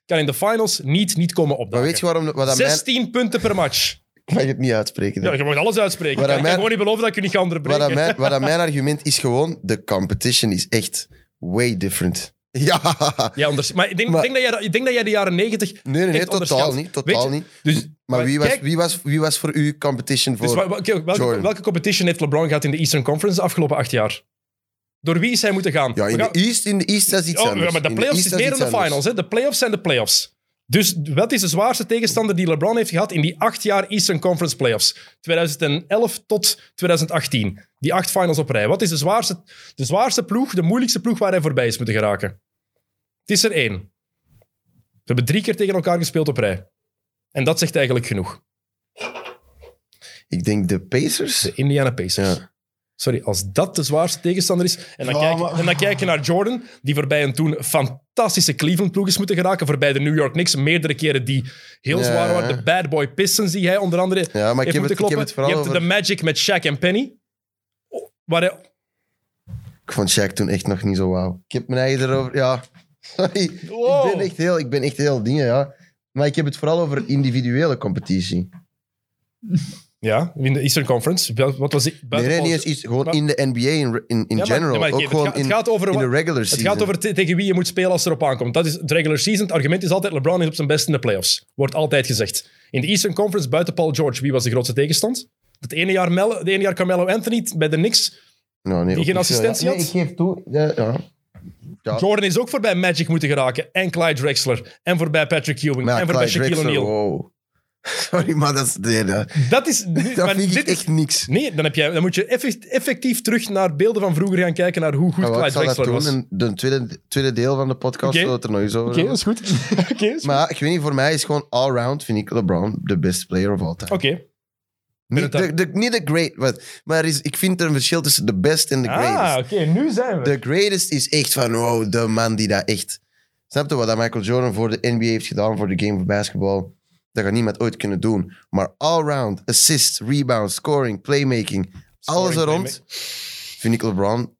kan in de finals niet, niet komen opdagen.
maar weet je waarom... Wat aan mij,
16 punten per match.
ik mag het niet uitspreken.
Ja, je mag alles uitspreken.
Wat
Ik
aan
kan
mij-
gewoon niet beloven dat ik je niet ga
Wat
onderbreken.
aan mijn, wat aan mijn argument is gewoon... De competition is echt way different. Ja.
Ja, onders- maar ik denk,
Maar-
denk dat jij, dat- ik denk dat jij de jaren negentig.
Nee, nee, nee,
Echt
totaal
onderschat.
niet.
Weet
Totaal
je-
niet.
Dus,
Maar wie was,
kijk,
wie, was, wie was voor u competition
dus
voor...
wa- wa- oké, welke,
Jordan?
welke competition heeft LeBron gehad in de Eastern Conference de afgelopen acht jaar? Door wie is hij moeten gaan?
ja,
We
in de
gaan-
East, in de East dat is iets
oh,
anders.
ja, maar de
In
playoffs
East,
is
dat
meer dan
iets
de finals.
anders.
Hè? De playoffs zijn de playoffs. Dus wat is de zwaarste tegenstander die LeBron heeft gehad in die acht jaar Eastern Conference playoffs? 2011 tot 2018. Die acht finals op rij. Wat is de zwaarste, de zwaarste ploeg, de moeilijkste ploeg waar hij voorbij is moeten geraken? Het is er één. We hebben drie keer tegen elkaar gespeeld op rij. En dat zegt eigenlijk genoeg.
Ik denk de Pacers.
De Indiana Pacers.
Ja.
Sorry, als dat de zwaarste tegenstander is. En dan,
Ja,
kijk,
maar-
en dan kijk je naar Jordan, die voorbij een toen fantastische Cleveland-ploeg is moeten geraken. Voorbij de New York Knicks, meerdere keren die heel
Ja,
zwaar waren.
ja.
De Bad Boy Pistons, die hij onder andere
Ja, maar ik
heeft
heb, het,
moeten
ik
kloppen.
heb het vooral
je hebt
over...
de Magic met Shaq en Penny. Oh, Waar hij,
Ik vond Shaq toen echt nog niet zo wauw. Ik heb mijn eigen erover... Ja, sorry.
Wow.
Ik ben echt heel... Ik ben echt heel dingen, ja. Maar ik heb het vooral over individuele competitie.
ja, in de Eastern Conference. Wel- Wat was die,
Nee, nee,
buitenpols-
niet eens iets. Gewoon
Maar-
in de NBA in, in, in
Ja, maar-
general.
ja, maar oké,
Ook
het
gewoon
gaat- het
in,
gaat over
in
wat-
de regular
Het
season.
gaat over te- tegen wie je moet spelen als het erop aankomt. Dat is de regular season. Het argument is altijd LeBron is op zijn best in de playoffs. Wordt altijd gezegd. In de Eastern Conference, buiten Paul George, wie was de grootste tegenstand? Het ene jaar, Mel, het ene jaar Carmelo Anthony bij de Knicks.
Nou, nee,
die
ook
geen
niet veel, ja.
assistentie
Nee,
had?
ik geef toe. Ja, ja. Ja.
Jordan is ook voorbij Magic moeten geraken. En Clyde Drexler. En voorbij Patrick Ewing.
Maar ja,
en voorbij
Clyde
Shaquille
Drexler,
O'Neal.
wow. Sorry, maar dat is... Nee, dat,
Dat is... nu-
dat
maar
vind ik
dit is-
echt niks.
Nee, dan, heb jij, dan moet je effect- effectief terug naar beelden van vroeger gaan kijken naar hoe goed
Maar wat,
Clyde
ik zal dat
Drexler
doen
was.
in de tweede, tweede deel van de podcast.
Oké.
zodat het er nog eens over
Oké,
hebben.
dat is goed. Oké, dat is goed.
Maar ja, ik weet niet, voor mij is gewoon allround, vind ik LeBron de best player of all time.
Oké.
Niet, de, de- niet de great, wat- maar er is, ik vind er een verschil tussen de best en de
Ah,
greatest.
oké. Nu zijn we.
De greatest is echt van, wow, de man die dat echt... Snap je wat dat Michael Jordan voor de NBA heeft gedaan, voor de game van basketbal? Dat gaat niemand ooit kunnen doen. Maar allround, assists, rebounds, scoring, playmaking, alles er
Scoring,
rond, vind ik LeBron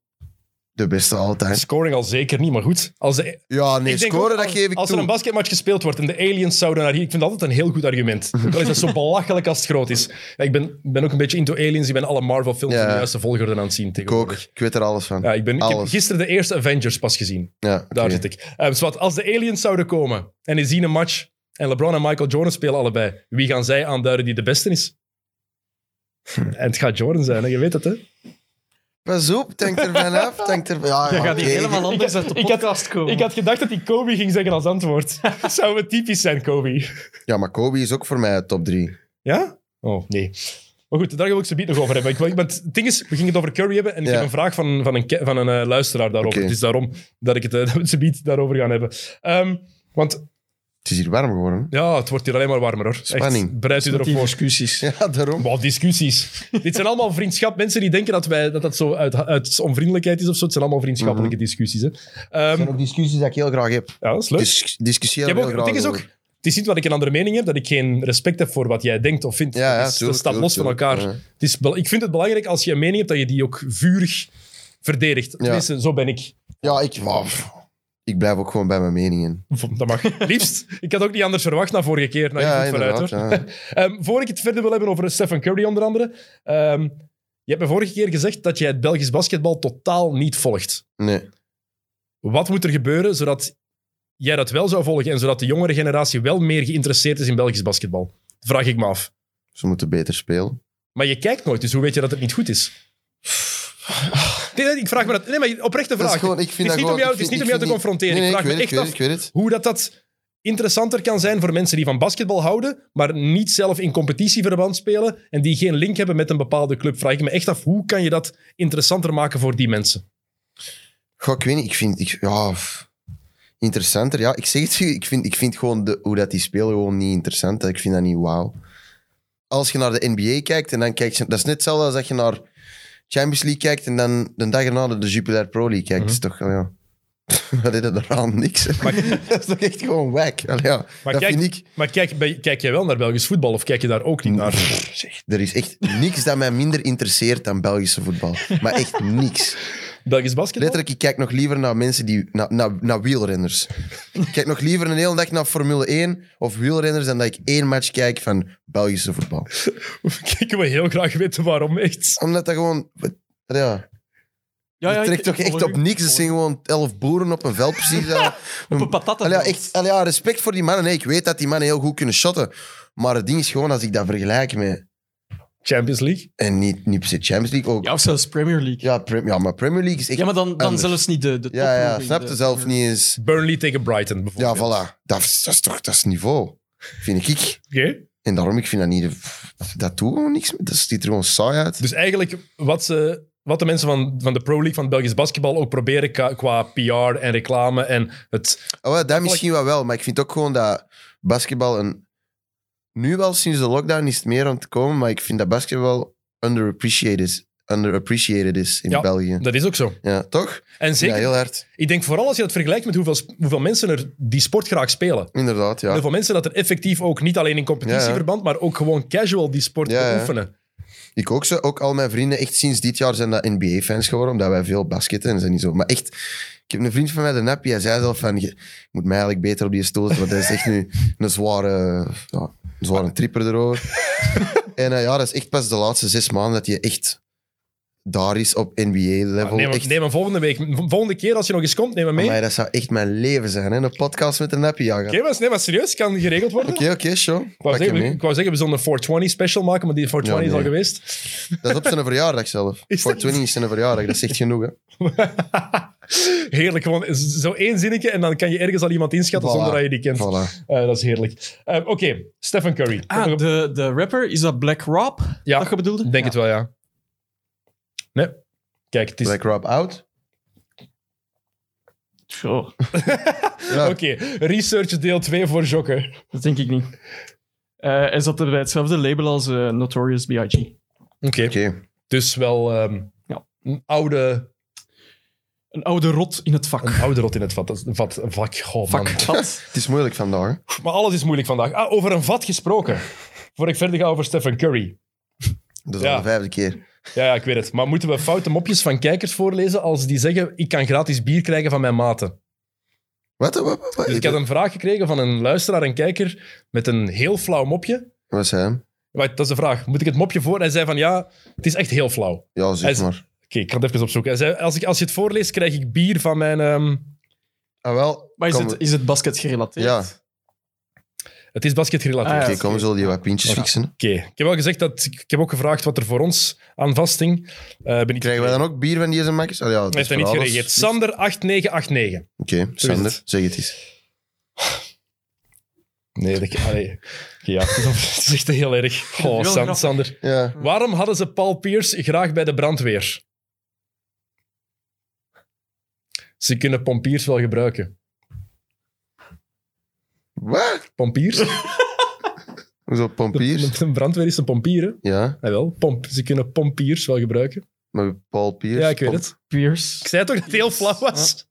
De beste altijd.
Scoring al zeker niet, maar goed. Als de,
Ja, nee,
Ik denk
scoren,
ook
dat
als-
geef ik
Als
toe.
er een basketmatch gespeeld wordt en de aliens zouden naar hier... Ik vind dat altijd een heel goed argument. Ook al is dat zo belachelijk als het groot is. Ja, ik ben, ben ook een beetje into aliens. Ik ben alle Marvel-films
Ja.
in de juiste volgorde aan het zien
Ik ook.
tegenwoordig.
Ik weet er alles van.
Ja, ik, ben, ik heb
Alles.
gisteren de eerste Avengers pas gezien.
Ja,
Daar
oké.
zit ik. Eh, zwart, als de aliens zouden komen en die zien een match en LeBron en Michael Jordan spelen allebei, wie gaan zij aanduiden die de beste is? En het gaat Jordan zijn, hè? je weet het, hè?
Pas op, denk er vanaf. Denk er... Ja,
Je
ja,
gaat hier
oké.
helemaal anders uit de
ik had-
podcast komen.
Ik had gedacht dat hij Kobe ging zeggen als antwoord. Zou het typisch zijn, Kobe?
Ja, maar Kobe is ook voor mij top drie.
Ja? Oh, nee. Maar goed, daar wil ik zo bied nog over hebben. Ik, wil- ik ben, het ding is, we gingen het over Curry hebben en ik
Ja.
heb een vraag van, van een, ke- van een eh, luisteraar daarover.
Oké.
Het is daarom dat, ik het, eh, dat we het zo bied daarover gaan hebben. Ehm, want
Het is hier warm geworden.
ja, het wordt hier alleen maar warmer, hoor. Echt,
Spanning.
bereid u erop
Die
voor.
discussies.
Ja, daarom.
Wow, discussies. Dit zijn allemaal vriendschap. Mensen die denken dat wij, dat, dat zo uit, uit onvriendelijkheid is of zo. Het zijn allemaal vriendschappelijke
Mhm.
discussies. Hè. Ehm,
Er zijn ook discussies die ik heel graag heb.
ja, dat is leuk.
Dus discussieer
Ik heb
heel
ook,
graag
het ding is ook,
over.
het is niet dat ik een andere mening heb, dat ik geen respect heb voor wat jij denkt of vindt.
Ja, ja,
dat, is-
tuurlijk,
dat staat los
tuurlijk,
van elkaar.
tuurlijk,
Het is, bel- ik vind het belangrijk als je een mening hebt, dat je die ook vurig verdedigt. Tenminste, zo ben ik.
Ja, ik... wauw. Ik blijf ook gewoon bij mijn meningen.
Dat mag. Liefst. Ik had ook niet anders verwacht na vorige keer. Nou, je
ja,
voelt vanuit, hoor.
inderdaad, ja.
Ehm, voor ik het verder wil hebben over Stephen Curry onder andere. ehm, je hebt me vorige keer gezegd dat jij het Belgisch basketbal totaal niet volgt.
Nee.
Wat moet er gebeuren zodat jij dat wel zou volgen en zodat de jongere generatie wel meer geïnteresseerd is in Belgisch basketbal? Vraag ik me af.
Ze moeten beter spelen.
Maar je kijkt nooit, dus hoe weet je dat het niet goed is? Nee, nee, ik vraag me dat. Nee, maar oprechte
Dat
vraag.
is gewoon, ik
het is
vind dat
niet om
gewoon-
jou,
ik
het is
vind-
niet
ik
om jou te
vind niet-
confronteren.
Nee, nee,
ik
ik
vraag
weet
me echt
het, ik weet
af
het, ik weet het.
hoe dat, dat interessanter kan zijn voor mensen die van basketbal houden, maar niet zelf in competitieverband spelen en die geen link hebben met een bepaalde club. Vraag ik me echt af, hoe kan je dat interessanter maken voor die mensen?
Goh, ik weet niet. Ik vind... Ik, ja, pff. interessanter. Ja, ik zeg het u. Ik vind, ik vind gewoon de, hoe dat die spelen gewoon niet interessant. Ik vind dat niet wauw. Als je naar de NBA kijkt en dan kijkt je... Dat is net hetzelfde als dat je naar Champions League kijkt en dan de dag erna naar de Jupiler Pro League kijkt.
Mhm.
Dat is toch... Ja. Wat is dat eraan? Niks. hè. dat is toch echt gewoon whack. Allee, ja,
Maar
dat
kijk-
vind ik...
Maar kijk, bij- kijk jij wel naar Belgisch voetbal of kijk je daar ook niet naar?
Pff, zeg, er is echt niks dat mij minder interesseert dan Belgische voetbal. Maar echt niks.
Belgisch basketbal?
Letterlijk, ik kijk nog liever naar mensen die... Naar, naar, naar wielrenners. Ik kijk nog liever een hele dag naar Formule 1 of wielrenners dan dat ik één match kijk van Belgische voetbal.
Kijken we heel graag weten waarom, echt.
Omdat dat gewoon... Ja,
Ah, Ja, ja,
dat
ik-
trekt toch
ik
echt
volg
op
u.
niks. Het zijn gewoon elf boeren op een veld, precies. Ja. Hm.
Op een patat.
Allee, ja, echt, allee, ja, respect voor die mannen. Nee, ik weet dat die mannen heel goed kunnen shotten. Maar het ding is gewoon, als ik dat vergelijk met...
Champions League?
En niet, niet per se Champions League, ook...
Ja, of zelfs Premier League.
Ja, Prem- ja, maar Premier League is echt
Ja, maar dan, dan
anders.
zelfs niet de, de
Ja, ja,
topploegen,
snap
de-
je zelf niet eens.
Burnley tegen Brighton,
Ja,
bijvoorbeeld.
voilà. Dat, is- dat is toch dat is niveau, vind ik.
Oké.
En daarom, ik vind dat niet... Dat doet gewoon niks. mee. Dat ziet er gewoon saai uit.
Dus eigenlijk wat, ze, wat de mensen van, van de Pro League, van het Belgisch basketbal ook proberen ka- qua PR en reclame en het...
Oh, ja, dat misschien wel wel, maar ik vind ook gewoon dat basketbal een... Nu wel, sinds de lockdown is het meer aan het komen, maar ik vind dat basketbal underappreciated is, underappreciated is in
Ja.
België.
Dat is ook zo.
Ja, toch?
En zeker,
Ja, heel hard.
ik denk vooral als je dat vergelijkt met hoeveel, sp- hoeveel mensen er die sport graag spelen.
Inderdaad, ja.
Hoeveel mensen dat er effectief ook niet alleen in competitieverband, maar ook gewoon casual die sport
Ja, ja.
beoefenen.
Ik ook zo. Ook al mijn vrienden, echt sinds dit jaar zijn dat NBA-fans geworden, omdat wij veel basketten en zijn niet zo. Maar echt, ik heb een vriend van mij, de Nappie, hij zei zelf van, je je moet mij eigenlijk beter op die stoel zetten, want dat is echt nu een zware, ja, een zware tripper erover. en eh, ja, dat is echt pas de laatste zes maanden dat je echt daar is op
Ja,
NBA-level.
neem, hem-
echt,
neem hem volgende week. V- Volgende keer als je nog eens komt, neem hem mee.
Amai, dat zou echt mijn leven zijn, hè? een podcast met de Nappie jagen.
Oké, maar, nee, maar serieus, kan geregeld worden.
Oké, oké, show.
Ik wou,
Pak je
zeggen,
mee.
ik wou zeggen, we zullen een 420 special maken, maar die 420
Ja,
is al
nee.
geweest.
Dat is op zijn verjaardag zelf.
Is
Voor
dat-
20 is zijn verjaardag, dat is echt genoeg. Hè?
heerlijk, gewoon zo één zinnetje en dan kan je ergens al iemand inschatten
Voilà.
zonder dat je die kent.
Voilà.
Eh, dat is heerlijk. Eh, Oké, Stephen Curry. Ik heb nog
Ah,
een-
de, de rapper, is dat Black Rob?
Ja.
Dat je bedoelde?
Denk het wel, ja. Nee. Kijk, het is...
Black Rob out.
Zo,
Ja.
Oké, research deel 2 voor Jokke.
dat denk ik niet. Eh, hij zat er bij hetzelfde label als eh, Notorious B.I.G.
Oké.
Oké.
Dus wel ehm,
Ja.
een oude...
Een oude rot in het vak.
Een oude rot in het vat. Dat is- Vat, vak, goh, man.
Vak. Vat.
Het is moeilijk vandaag. hè.
Maar alles is moeilijk vandaag. Ah, over een vat gesproken. Voor ik verder ga over Stephen Curry.
Dat is
Ja.
al de vijfde keer.
Ja, ja, ik weet het. Maar moeten we foute mopjes van kijkers voorlezen als die zeggen ik kan gratis bier krijgen van mijn maten?
Wat? Wat? Wat? Wat?
Dus ik had een vraag gekregen van een luisteraar en kijker met een heel flauw mopje.
Wat zei hem?
Maar dat is de vraag. Moet ik het mopje voor? Hij zei van ja, het is echt heel flauw. Oké,
Ja,
Hij
zeg
is-
maar.
ik ga het even opzoeken. Hij zei, als, ik, als je het voorleest, krijg ik bier van mijn... ehm,
Ah, wel.
Maar is
kom-
het, is het basket gerelateerd?
Ja.
het is basket gerelateerd.
Ah,
Oké,
ja.
kom, we zullen die wat pintjes fixen.
Oké, ik heb wel gezegd dat ik heb ook gevraagd wat er voor ons aan vasting. Eh ben ik
Krijgen wij dan ook bier van die zijn makers? Ah, ja,
Hij
dat
heeft
is
daar niet
voor
gereageerd.
alles.
Sander 8989.
Oké,
is
Sander,
het.
zeg het eens.
Nee, dat allee. Ja, het is- het is echt heel erg. Oh,
Heel
San-
grappig.
Sander.
Ja.
Waarom hadden ze Paul Pierce graag bij de brandweer? Ze kunnen pompiers wel gebruiken.
Wat?
Pompiers?
Hoezo, pompiers?
Een brandweer is een pompier, hè?
Ja,
Jawel, pomp. ze kunnen pompiers wel gebruiken.
maar Paul Piers.
Ja, ik weet
Pom-
het. Ik
Pierce.
zei toch dat het heel
Ah.
flauw was?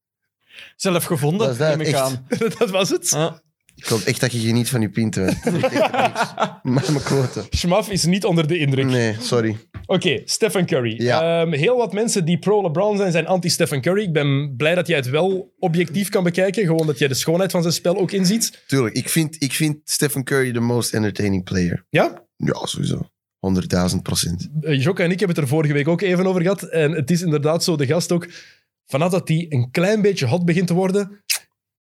Zelf gevonden,
Dat is dat,
neem ik
echt.
aan.
Dat was het.
Ah.
Ik hoop echt dat je geniet van je pinten. hè. Ik weet echt niks. Maar mijn kloten.
Schmaf is niet onder de indruk.
Nee, sorry.
Oké, Stephen Curry.
Ja.
Ehm, heel wat mensen die pro-LeBron zijn, zijn anti-Stephen Curry. Ik ben blij dat jij het wel objectief kan bekijken. Gewoon dat jij de schoonheid van zijn spel ook inziet.
Tuurlijk, ik vind, ik vind Stephen Curry de most entertaining player.
Ja?
Ja, sowieso. 100.000 procent.
Eh, Jokka en ik hebben het er vorige week ook even over gehad. En het is inderdaad zo, de gast ook. Vanaf dat hij een klein beetje hot begint te worden,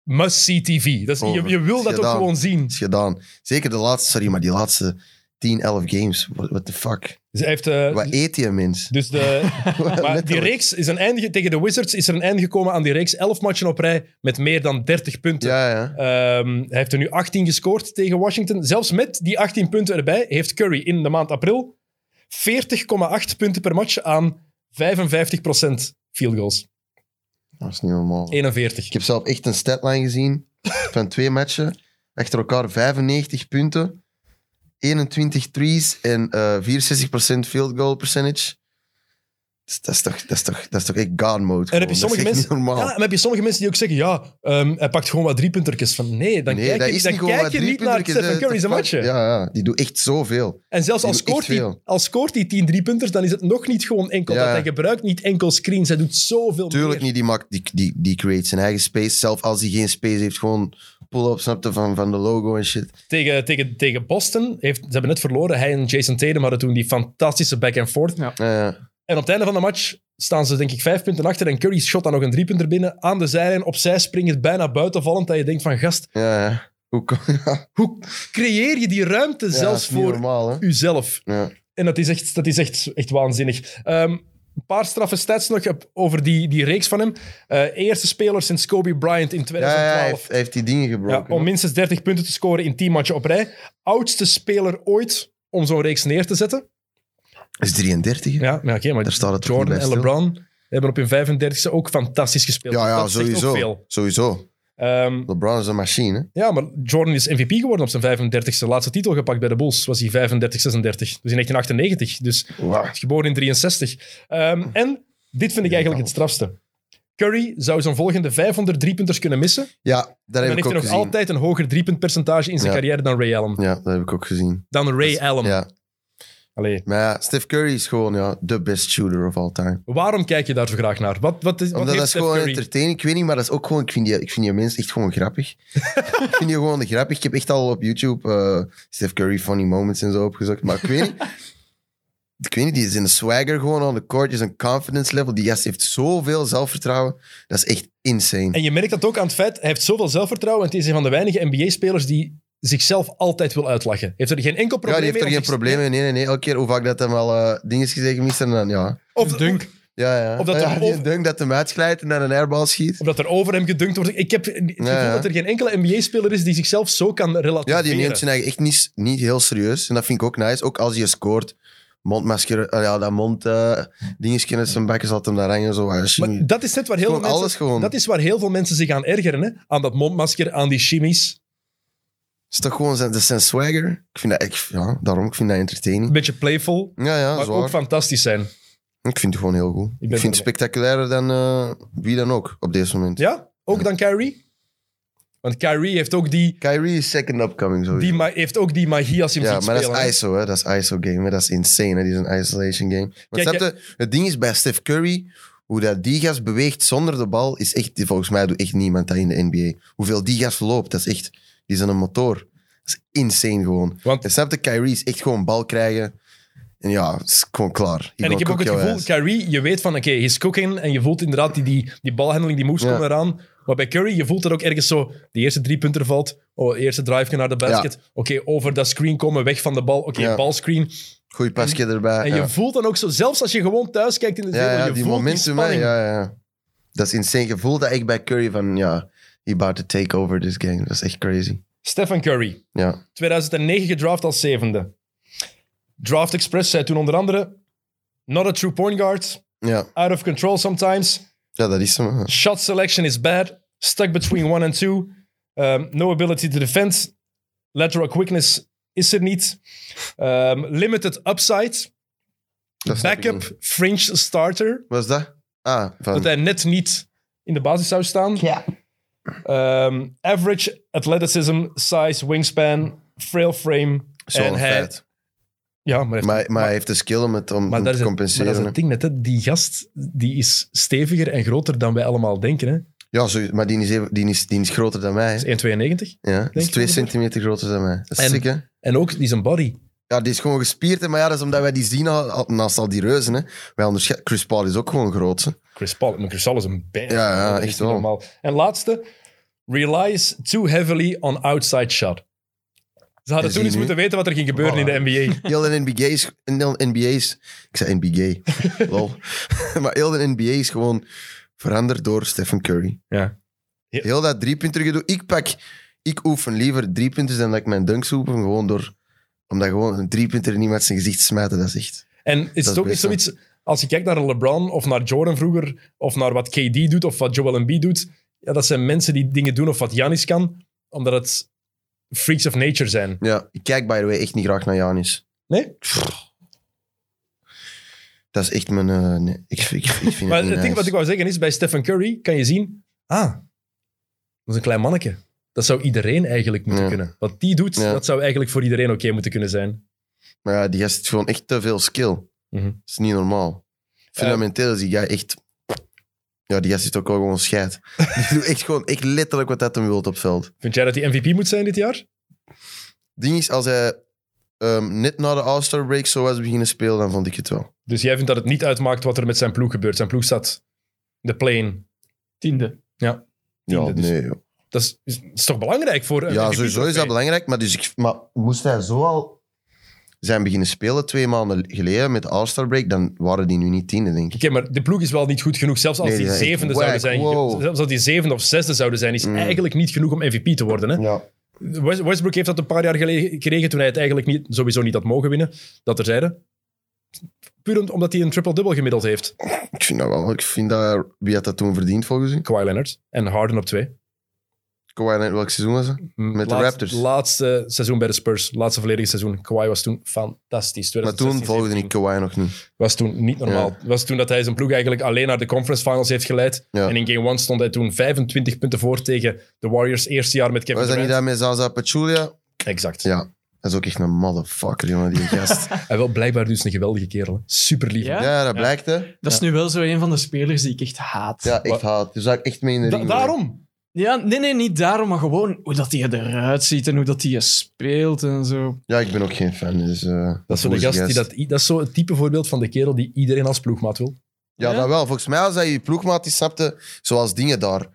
must-see TV. Dat is, je, je wil dat ook
Gedaan.
gewoon zien.
Is gedaan. Zeker de laatste, sorry, maar die laatste 10, 11 games. What, what the fuck?
Dus hij heeft... eh,
Wat eet je, mens?
dus de, maar die
Letterlijk.
reeks is een einde, tegen de Wizards is er een einde gekomen aan die reeks. Elf matchen op rij met meer dan 30 punten.
Ja, ja.
Ehm, hij heeft er nu 18 gescoord tegen Washington. Zelfs met die 18 punten erbij heeft Curry in de maand april 40,8 punten per match aan 55% field goals.
Dat is niet normaal.
41.
Ik heb zelf echt een statline gezien van twee matchen. Achter elkaar 95 punten, 21 threes en eh 64% field goal percentage. Dus dat, is toch, dat, is toch, dat is toch echt god mode.
En
gewoon.
heb je, sommige
dat is echt
mensen,
niet
ja,
normaal.
maar heb je sommige mensen die ook zeggen, ja, ehm, hij pakt gewoon wat driepuntertjes van. Nee, dan
nee,
kijk
dat
je,
is
dan
niet gewoon
kijk
wat
je niet naar
driepuntertjes,
Stephen
eh,
Curry's
te
matchen.
pakken. Ja, ja, die doet echt zoveel.
En zelfs als
Die doet
scoort,
echt
hij,
veel.
als scoort hij 10 driepunters, dan is het nog niet gewoon enkel
Ja.
dat hij gebruikt, niet enkel screens. Hij doet zoveel
Tuurlijk
meer.
niet, die, maakt, die, die, die create zijn eigen space. Zelf als hij geen space heeft, gewoon pull-up, snapte, van, van de logo en shit.
Tegen, tegen, tegen Boston, heeft, ze hebben net verloren. Hij en Jason Tatum hadden toen die fantastische back-and-forth.
Eh,
En op het einde van de match staan ze denk ik vijf punten achter en Curry shot dan nog een driepunter binnen. Aan de zijlijn, opzij springend, bijna buitenvallend. Dat je denkt van, gast,
ja, ja. Hoe kom ja,
hoe creëer je die ruimte
dat
zelfs
is niet
voor
normaal, hè?
uzelf?
Ja.
En dat is echt, dat is echt, echt waanzinnig. Ehm, een paar straffe stats nog op- over die, die reeks van hem. Eh, eerste speler sinds Kobe Bryant in
Ja, ja, hij
2012.
heeft, hij heeft die dingen
Ja,
gebroken.
om minstens 30 punten te scoren in 10 matchen op rij. Oudste speler ooit om zo'n reeks neer te zetten.
is 33. hè?
Ja, maar oké, maar
Daar staat het toch
Jordan
niet
en
bij stil?
LeBron hebben op hun 35e ook fantastisch gespeeld.
Ja, ja,
Dat zegt ook
sowieso.
veel.
Sowieso.
Ehm,
LeBron is een machine. hè.
ja, maar Jordan is MVP geworden op zijn 35e. Laatste titel gepakt bij de Bulls was hij 35, 36. Dus in 1998. Dus
Wauw.
geboren in 63. Ehm, en dit vind ik eigenlijk het strafste. Curry zou zijn volgende 500 driepunters kunnen missen.
Ja, daar
En
heb
dan
ik
heeft
ook
hij nog
gezien.
altijd een hoger driepuntpercentage in zijn
Ja.
carrière dan Ray Allen.
Ja, dat heb ik ook gezien.
Dan Ray Allen.
Ja.
Allee,
Maar ja, Steph Curry is gewoon ja, de best shooter of all time.
waarom kijk je daar zo graag naar? Wat, wat, is, wat
Omdat
heeft
dat is
Steph
gewoon
Curry?
entertaining. Ik weet niet, maar dat is ook gewoon... Ik vind die, ik vind die mens echt gewoon grappig. ik vind die gewoon grappig. Ik heb echt al op YouTube eh, Steph Curry funny moments en zo opgezocht. Maar ik weet niet... Ik weet niet, die is in de swagger gewoon on the court. Die is een confidence level. Die gast heeft zoveel zelfvertrouwen. Dat is echt insane.
En je merkt dat ook aan het feit, hij heeft zoveel zelfvertrouwen. En het is een van de weinige NBA-spelers die zichzelf altijd wil uitlachen. Heeft er geen enkel
Ja,
probleem
die heeft er
mee
geen
om zich-
probleem mee. Nee, nee, nee. Elke keer hoe vaak dat hem al eh dingen is gezegd mist en dan ja.
Of,
Dunk.
Ja, ja.
Of dat
ja,
hem
die
over-
dunk dat hem uitglijdt en dan een airbal schiet.
of dat er over hem gedunkt wordt. Ik heb het gevoel
Ja, ja.
dat er geen enkele NBA-speler is die zichzelf zo kan relativeren.
Ja, die neemt zijn eigen echt niet, niet heel serieus. En dat vind ik ook nice. Ook als hij scoort. Mondmasker, eh, ja, dat mond, eh dingetje uit zijn bekken zat hem daar hangen. Zo. eh, shimmy.
Maar dat is net waar heel, veel
Gewoon
mensen,
alles gewoon.
dat is waar heel veel mensen zich aan ergeren. Hè? Aan dat mondmasker, aan die chimies.
is toch gewoon zijn, dat is zijn swagger. Ik vind dat echt, ja, daarom, ik vind dat
Een
entertaining.
beetje playful,
Ja, ja,
maar
zwaar.
ook fantastisch zijn.
Ik vind het gewoon heel goed.
ben
Ik, vind
erbij.
het spectaculairder dan eh, wie dan ook op deze moment.
Ja? Ook dan Kyrie? Want Kyrie heeft ook die,
Kyrie is second upcoming sowieso.
die, ma- heeft ook die magie als je hem
Ja,
ziet
maar
spelen.
dat
hè.
is ISO, hè? dat is ISO-game. Dat is insane, hè? die is een isolation game. Maar
Kijk,
snap je, het ding is bij Steph Curry, hoe dat die gast beweegt zonder de bal, is echt, volgens mij doet echt niemand dat in de NBA. Hoeveel die gast loopt, dat is echt, die is een motor. Dat is insane gewoon.
Want-
en snap je, Kyrie is echt gewoon bal krijgen. En ja, het is gewoon klaar.
En ik heb ook het gevoel, Kyrie, je weet van, oké, hij is cooking. En je voelt inderdaad die, die, die balhandeling, die moves
Ja.
komen eraan. Maar bij Curry, je voelt dat ook ergens zo, die eerste drie punten valt. Oh, eerste drive naar de basket. Oké, over dat screen komen, weg van de bal. Oké,
Ja.
balscreen.
Goeie pasje erbij.
En je
ja.
voelt dan ook zo, zelfs als je gewoon thuis kijkt in de
Ja,
zee,
ja,
je
die
voelt
momentum, hè.
die spanning.
ja, ja. Dat is insane. Je voelt dat echt bij Curry van, ja, he about to take over this game. Dat is echt crazy.
Stephen Curry.
Ja.
2009 gedraft als zevende. Draft Express zei toen onder andere: Not a true point guard,
Ja.
out of control sometimes,
ja, dat is hem. hè.
shot selection is bad, stuck between one and two, um, no ability to defend, lateral quickness is er niet, um, limited upside,
Dat snap ik niet.
backup fringe starter,
Wat is dat? Ah, van,
dat hij net niet in de basis zou staan.
Ja.
Um, average athleticism, size, wingspan, frail frame
zo'n
en hij-
feit.
Ja, maar hij heeft
Maar, maar hij heeft de skill om het om,
Maar dat,
om
is
te
het, maar
compenseren.
dat is het ding net, hè. die gast die is steviger en groter dan wij allemaal denken. Hè.
ja, zo, maar die is, even- die, is, die is groter dan mij. hè.
Hij is 1,92.
Ja, die is
je
twee
dat?
centimeter groter dan mij. Dat is
En-
sick, hè?
En ook, die is een body.
Ja, die is gewoon gespierd, hè, maar ja, dat is omdat wij die zien al, al- naast al die reuzen. Hè. Wij onderschatten... Chris Paul is ook gewoon groot. hè.
Chris Paul, maar Chris Paul is een band.
Ja, ja,
Dat is niet
echt wel.
Normaal. En laatste, relies too heavily on outside shot. Ze hadden
En
toen eens
zie nu- Ah.
moeten weten wat er ging gebeuren in de NBA.
Heel de NBA is... Heel de NBA is ik zei NBA. Lol. maar heel de NBA is gewoon veranderd door Stephen Curry.
Ja.
Heel dat driepunter gedoe. Ik pak... Ik oefen liever driepunters dan dat ik mijn dunks oefen. Gewoon door... Omdat gewoon een driepunter niet met zijn gezicht smijten, dat is echt...
En is
is
het ook niet
best,
zoiets, als je kijkt naar LeBron of naar Jordan vroeger, of naar wat KD doet of wat Joel Embiid doet, ja, dat zijn mensen die dingen doen of wat Janis kan, omdat het freaks of nature zijn.
Ja, ik kijk by the way echt niet graag naar Janis.
Nee?
Dat is echt mijn... eh, nee, ik, ik, ik
Maar
vind het niet
het ding
nice.
wat ik wou zeggen is, bij Stephen Curry kan je zien, ah, dat is een klein manneke. Dat zou iedereen eigenlijk moeten
Ja.
kunnen. Wat die doet,
Ja.
dat zou eigenlijk voor iedereen oké moeten kunnen zijn.
Maar ja, die gast heeft gewoon echt te veel skill.
Mhm. Eh.
Dat is niet normaal. Fundamenteel is die guy echt... Ja, die gast is ook wel gewoon scheid. Die doet echt gewoon echt letterlijk wat dat hem wilt op het veld.
Vind jij dat hij MVP moet zijn dit jaar?
Ding is, als hij ehm, net na de All-Star break zo was beginnen spelen, dan vond ik het wel.
Dus jij vindt dat het niet uitmaakt wat er met zijn ploeg gebeurt. Zijn ploeg staat de plane.
Tiende.
Ja,
Tiende, dus-
nee. joh.
Dat is, is, is toch belangrijk voor een
Ja,
MVP
sowieso is dat
trofee?
belangrijk. Maar, dus ik, maar moest hij zo al zijn beginnen spelen twee maanden geleden met de All-Star break, dan waren die nu niet tiende, denk ik.
Oké, maar de ploeg is wel niet goed genoeg. Zelfs als
Nee,
die
die zijn echt
zevende
whack.
zouden zijn,
Wow. Mm.
zelfs als die zevende of zesde zouden zijn, is eigenlijk niet genoeg om MVP te worden. Hè?
Ja.
West- Westbrook heeft dat een paar jaar geleden gekregen toen hij het eigenlijk niet, sowieso niet had mogen winnen. Dat er zeiden. Puur om- omdat hij een triple-double gemiddeld heeft.
Ik vind dat wel. Ik vind dat... Wie had dat toen verdiend, volgens u?
Kawhi Leonard en Harden op twee.
Kawhi Leonard, welk seizoen was dat?
Met
de Raptors.
Laatste seizoen bij de Spurs. Laatste volledige seizoen. Kawhi was toen fantastisch.
Maar toen
2016,
volgde
17.
ik Kawhi nog niet.
Was toen niet normaal. Was toen dat hij zijn ploeg eigenlijk alleen naar de conference finals heeft geleid.
Ja.
En in game one stond hij toen 25 punten voor tegen de Warriors. Eerste jaar met Kevin
Was dat niet
Durant.
daarmee Zaza Pachulia?
Exact.
Ja. Dat is ook echt een motherfucker, jongen, die gast.
Hij wel blijkbaar dus een geweldige kerel. Super lief.
Ja?
ja, dat blijkt, hè.
Dat is nu wel zo een van de spelers die ik echt haat.
Ja,
Wat?
echt haat. Dus zou ik echt mee in de ring. willen.
daarom.
Ja, nee, nee, niet daarom, maar gewoon hoe dat hij eruit ziet en hoe dat hij speelt en zo.
Ja, ik ben ook geen fan, dus... eh,
Dat is, zo de
boze
gast die dat, dat is zo het type voorbeeld van de kerel die iedereen als ploegmaat wil.
Ja,
Ja?
dat wel. Volgens mij, als hij je ploegmaat die snapte, zoals dingen daar,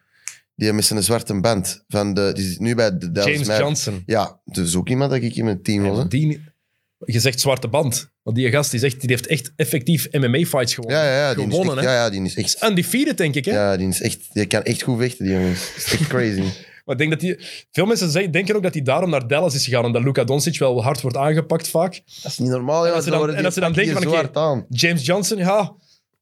die met zijn zwarte band, van de, die zit nu bij de Dallas
James
Mavericks.
Johnson.
Ja, dus ook iemand dat ik in mijn team was, hè.
Die, je zegt zwarte band. Want die gast die zegt, die heeft echt effectief MMA-fights gewonnen.
Ja, ja, ja. Die is
gewonnen,
echt-
hè.
ja, ja, die is
Dat
echt...
is undefeated, denk ik. Hè?
Ja, die is echt... Die kan echt goed vechten, die jongens. Dat is echt crazy.
Maar ik denk dat die, veel mensen zeggen- denken ook dat hij daarom naar Dallas is gegaan. Omdat Luka Doncic wel hard wordt aangepakt vaak.
Dat is niet normaal, jongens.
ze dan-
worden
en
die
dat ze dan
pakken
denken
hier
van,
zo hard aan.
James Johnson, ja,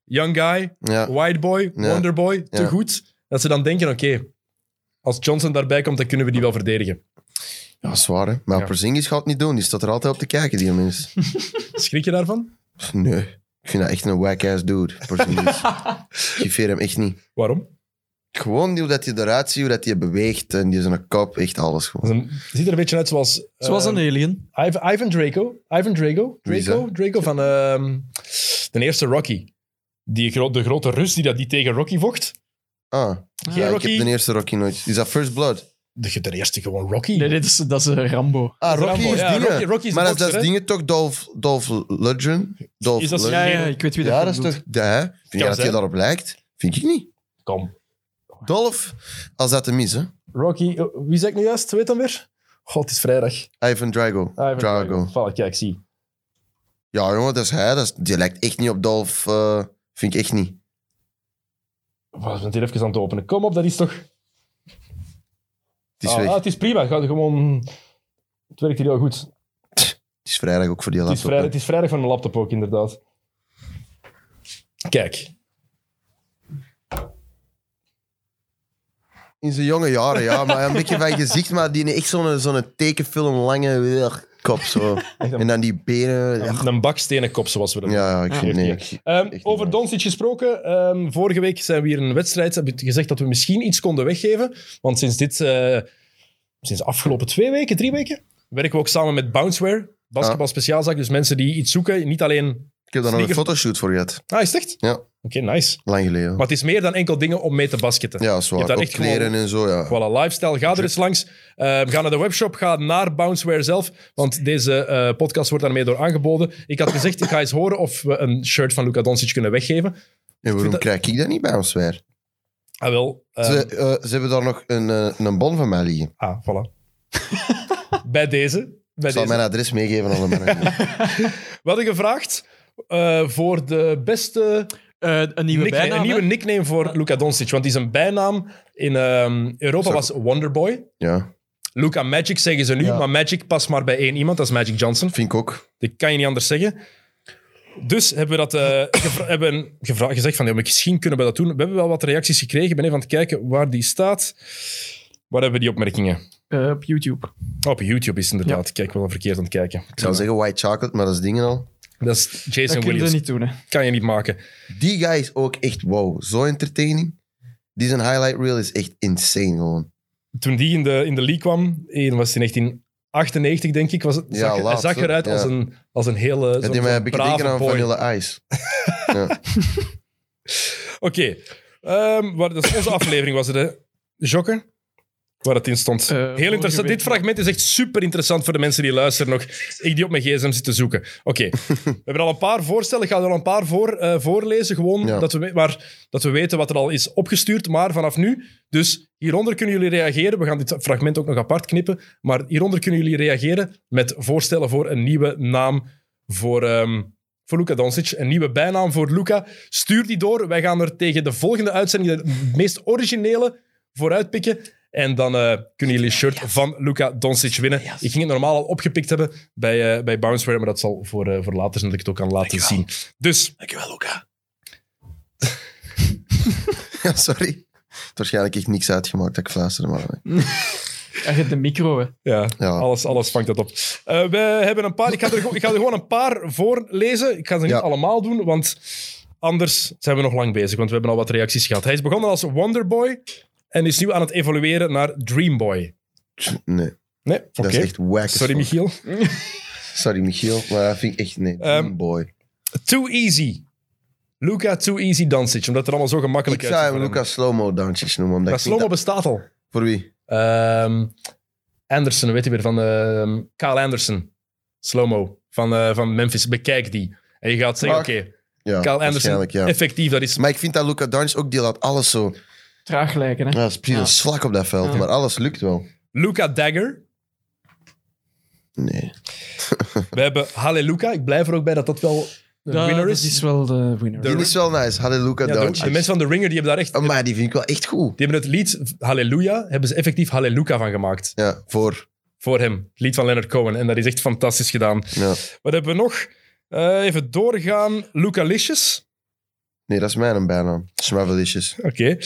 young guy,
Ja.
white boy,
Ja.
wonder boy, te
Ja.
goed. Dat ze dan denken, oké, als Johnson daarbij komt, dan kunnen we die wel verdedigen.
Ja, zwaar, hè. Maar
Ja.
Porzingis gaat het niet doen. Die staat er altijd op te kijken, die mens.
Schrik je daarvan?
Pff, Nee. Ik vind dat echt een whack-ass dude, Porzingis. Ik geef hem echt niet.
Waarom?
Gewoon hoe dat je eruit ziet, hoe dat je beweegt en die zijn kop, echt alles gewoon.
Het ziet er een beetje uit zoals... eh,
Zoals een alien.
Ivan, Ivan Draco. Ivan Draco.
Wie is
Draco,
dat?
Draco van ehm, de eerste Rocky. Die gro- de grote Rus die, dat, die tegen Rocky vocht.
Ah,
Geen
ja, ik
Rocky.
heb de eerste Rocky nooit. Is dat First Blood?
De, de eerste gewoon Rocky.
Nee, dit is, dat is eh, Rambo.
Ah,
is
Rocky
Rambo.
is
Ja,
dingen.
Rocky- Rocky is de
maar als dat is
bokser, hè?
dingen toch Dolph, Dolph Lundgren? Dolph
Is dat zo-
Lundgren?
Ja, ja, ik weet wie dat
Ja, dat is
bedoelt.
toch... Ja, hè? Vind je dat
zijn.
hij daarop lijkt? Vind ik niet.
Kom.
Dolph, als dat hem is, hè?
Rocky. eh, Wie zei ik nu juist? Weet dan weer? God, het is vrijdag.
Ivan Drago.
Ivan
Drago.
Voilà, kijk, zie.
Ja, jongen, dat is hij. Dat is, die lijkt echt niet op Dolph. eh, vind ik echt niet.
Wat, We zijn hier even aan het openen. Kom op, dat is toch...
Het is
Ah,
weg.
ah, het is prima. Ga gewoon... Het werkt hier heel goed.
Het is vrijdag ook voor die
Het is,
laptop.
vrijdag, het
hè.
is vrijdag van een laptop ook, inderdaad. Kijk.
In zijn jonge jaren, ja. Maar een beetje van gezicht, maar die heeft echt zo'n zo'n tekenfilm lange weer, kop zo.
een-
En dan die benen. Ja,
Een, een bakstenen kop, zoals we dat
ja ik vind nee.
Echt
ik-
Ehm,
niet
over
mooi.
Doncic gesproken. ehm, vorige week zijn we hier een wedstrijd. Heb ik gezegd dat we misschien iets konden weggeven. Want sinds dit, eh, sinds de afgelopen twee weken, drie weken, werken we ook samen met Bounceware. Basketbal speciaalzaak. Dus mensen die iets zoeken. Niet alleen.
Ik heb daar nog een
Sneaker-
fotoshoot voor gehad.
Ah, is het echt?
Ja.
Oké, nice.
Lang geleden.
Maar het is meer dan enkel dingen om mee te basketten.
Ja,
Je hebt
zwaar.
daar
Ook
echt gewoon-
kleren en zo, ja.
Voilà, lifestyle. Ga er eens langs. Eh, ga naar de webshop. Ga naar Bounceware zelf. Want deze eh, podcast wordt daarmee door aangeboden. Ik had gezegd, ik ga eens horen of we een shirt van Luka Doncic kunnen weggeven.
En waarom
dat-
krijg ik dat niet bij ons weer?
Ah, wel. ehm,
Ze, eh, ze hebben daar nog een, eh, een bon van mij liggen.
Ah, voilà. bij deze. Bij
Ik zal
deze.
mijn adres meegeven aan de mannen.
We hadden gevraagd eh, voor de beste
Eh, een nieuwe
nickname-
bijnaam.
een nieuwe
hè?
nickname voor Luka Doncic. Want die zijn bijnaam in ehm, Europa
Zou-
was Wonderboy.
ja,
Luka Magic zeggen ze nu,
Ja.
maar Magic past maar bij één iemand. Dat is Magic Johnson.
vind ik ook.
Dat kan je niet anders zeggen. Dus hebben we dat eh, gevra- hebben gevra- gezegd van ja, maar misschien kunnen we dat doen. We hebben wel wat reacties gekregen. Ik ben even aan het kijken waar die staat. Waar hebben we die opmerkingen?
Eh, op YouTube.
Oh, op YouTube is het inderdaad. Kijk, wel verkeerd aan het kijken.
Ik zou zeggen white chocolate, maar dat is dingen al.
Dat is
Dat
Jason
kun je
Williams.
niet doen, hè.
Kan je niet maken.
Die guy is ook echt wow. Zo entertaining. Die zijn highlight reel is echt insane gewoon.
Toen die in de, in de league kwam, in, was het in 1998, denk ik, was het,
Ja,
zag, hij
laat,
zag
hè?
eruit
Ja.
als, een, als een hele zo'n-
Het deed mij
zo'n
een beetje
brave
denken aan
boy.
Vanilla Ice. ja.
Oké. Ehm, waar- dat is onze aflevering, was het, hè? Jokken? Waar het in stond.
Eh,
Heel
vorige
interessant.
week.
Dit fragment is echt super interessant voor de mensen die luisteren nog. Ik die op mijn gsm zit te zoeken. Oké. we hebben al een paar voorstellen. Ik ga er al een paar voor, eh, voorlezen. Gewoon
Ja.
dat, we, we- maar, dat we weten wat er al is opgestuurd. Maar vanaf nu. Dus hieronder kunnen jullie reageren. We gaan dit fragment ook nog apart knippen. Maar hieronder kunnen jullie reageren met voorstellen voor een nieuwe naam voor. ehm, voor Luka Doncic. Een nieuwe bijnaam voor Luka. Stuur die door. Wij gaan er tegen de volgende uitzending de meest originele vooruitpikken. En dan eh, kunnen jullie een shirt van Luka Doncic winnen. Ik ging het normaal al opgepikt hebben bij, eh, bij Bounceware, maar dat zal voor, eh, voor later zijn dat ik het ook kan laten zien. Dus,
Dankjewel, Luca.
Ja, sorry. Het heeft waarschijnlijk echt niks uitgemaakt dat ik fluisterde, maar...
Mm.
Hij heeft de micro, hè.
ja,
Ja.
alles, alles vangt dat op. Eh, we hebben een paar... Ik ga, er, gewoon- ik ga er gewoon een paar voorlezen. Ik ga ze niet
Ja.
allemaal doen, want anders zijn we nog lang bezig, want we hebben al wat reacties gehad. Hij is begonnen als Wonderboy en is nu aan het evolueren naar Dreamboy.
Nee,
Nee, oké.
dat is echt wack. as
Sorry,
fuck.
Michiel.
Sorry, Michiel. Maar dat vind ik echt... Nee,
Ehm,
Dream boy.
Too easy. Luca Too Easy Dancic, omdat het er allemaal zo gemakkelijk
Ik
uitziet.
zou hem
voor hem.
Lucas Slow-Mo Downtjes noemen, omdat
Dat
ik vind
slow
dat-
bestaat al.
Voor wie?
Ehm, Anderson, weet je weer, van ehm Kyle Anderson. Slow-mo van, eh, van Memphis. Bekijk die. En je gaat zeggen,
Maar-
oké,
Ja,
Kyle Anderson,
waarschijnlijk, ja.
effectief, dat is...
Maar ik vind dat Luca Doncic ook, die laat alles zo...
Traag lijken, hè.
Ja, dat is precies
Ja.
een slak op dat veld,
Ja.
maar alles lukt wel.
Luca Dagger.
Nee.
We hebben Halleluca. Ik blijf er ook bij dat dat wel de
Dat-
winner
dat
is.
is wel de winner.
Die is wel nice. Hadden Luca
Ja, de, de mensen van The Ringer, die hebben daar echt...
Maar die vind ik wel echt goed.
Die hebben het lied Halleluja, hebben ze effectief Halleluca van gemaakt.
Ja, voor.
Voor hem. Het lied van Leonard Cohen. En dat is echt fantastisch gedaan.
Ja.
Wat hebben we nog? Eh, even doorgaan. Lucalicious.
Nee, dat is mijn bijnaam. Smavelicious.
Oké.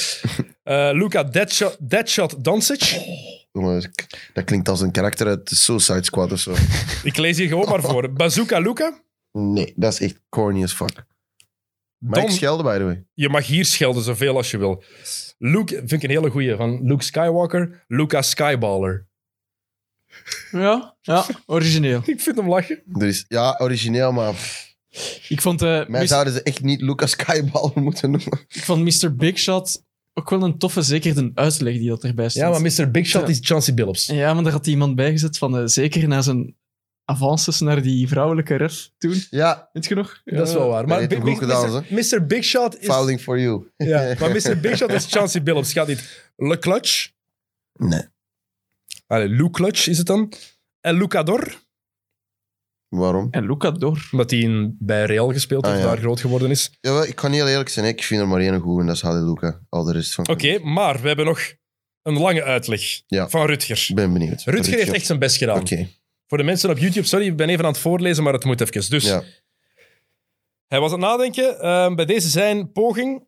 Eh, Luca Deadshot, Deadshot Doncic.
Jongens, k- Dat klinkt als een karakter uit de Suicide Squad of zo.
Ik lees hier gewoon maar voor. Bazooka Luca.
Nee, dat is echt corny as fuck. Maar ik
Dan-
schelde, by the way.
je mag hier schelden zoveel als je wil. Luke vind ik een hele goeie. Van Luke Skywalker, Luca Skyballer.
Ja, ja, origineel.
Ik vind hem lachen.
Er is, ja, origineel, maar pff,
Ik vond, eh,
mij
Mis-
zouden ze echt niet Lucas Skyballer moeten noemen.
ik vond Mr. Big Shot ook wel een toffe, zeker de uitleg die dat erbij stond.
Ja, maar Mr. Big Shot
Ja.
is Chancey Billups.
Ja, maar daar had iemand bij gezet van, eh, zeker na zijn avances naar die vrouwelijke ref toen.
Ja,
Weet je nog? Ja.
Dat is wel waar.
dat
Maar
heeft
Big,
hem goed gedaan,
Mr. Mr. Big Shot is...
fouling for you.
Ja, maar Mr. Big Shot is Chancey Billups. Gaat niet Le Clutch.
Nee.
Allee, Lou Clutch is het dan. En Lucador,
Waarom?
En Luca door.
omdat hij in- bij Real gespeeld heeft,
Ah, ja.
daar groot geworden is.
Jawel, ik kan heel eerlijk zijn, ik vind er maar één goed en dat is Hadi Luca. Al de rest van.
Oké, maar we hebben nog een lange uitleg
Ja.
van Rutger.
Ik ben benieuwd.
Rutger heeft echt zijn best gedaan.
Oké,
Voor de mensen op YouTube, sorry, ik ben even aan het voorlezen, maar het moet even. Dus
ja.
Hij was aan het nadenken ehm, bij deze zijn poging.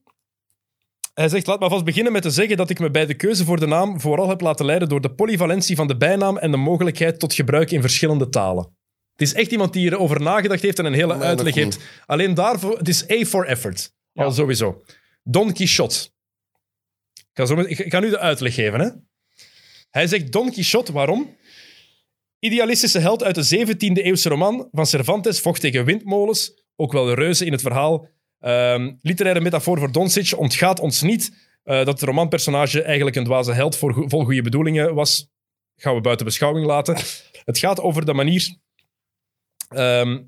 Hij zegt, laat maar vast beginnen met te zeggen dat ik me bij de keuze voor de naam vooral heb laten leiden door de polyvalentie van de bijnaam en de mogelijkheid tot gebruik in verschillende talen. Het is echt iemand die hierover nagedacht heeft en een hele
Nee,
uitleg
nog
heeft. Alleen daarvoor, het is A for effort. Al sowieso. Don Quixote. Ik ga, zo met- ik ik ga nu de uitleg geven. Hè? Hij zegt Don Quixote, waarom? Idealistische held uit de 17e eeuwse roman van Cervantes vocht tegen windmolens, ook wel de reuzen in het verhaal. Ehm, literaire metafoor voor Doncic ontgaat ons niet eh, dat het romanpersonage eigenlijk een dwaze held voor go- vol goede bedoelingen was. Gaan we buiten beschouwing laten. Het gaat over de manier ehm,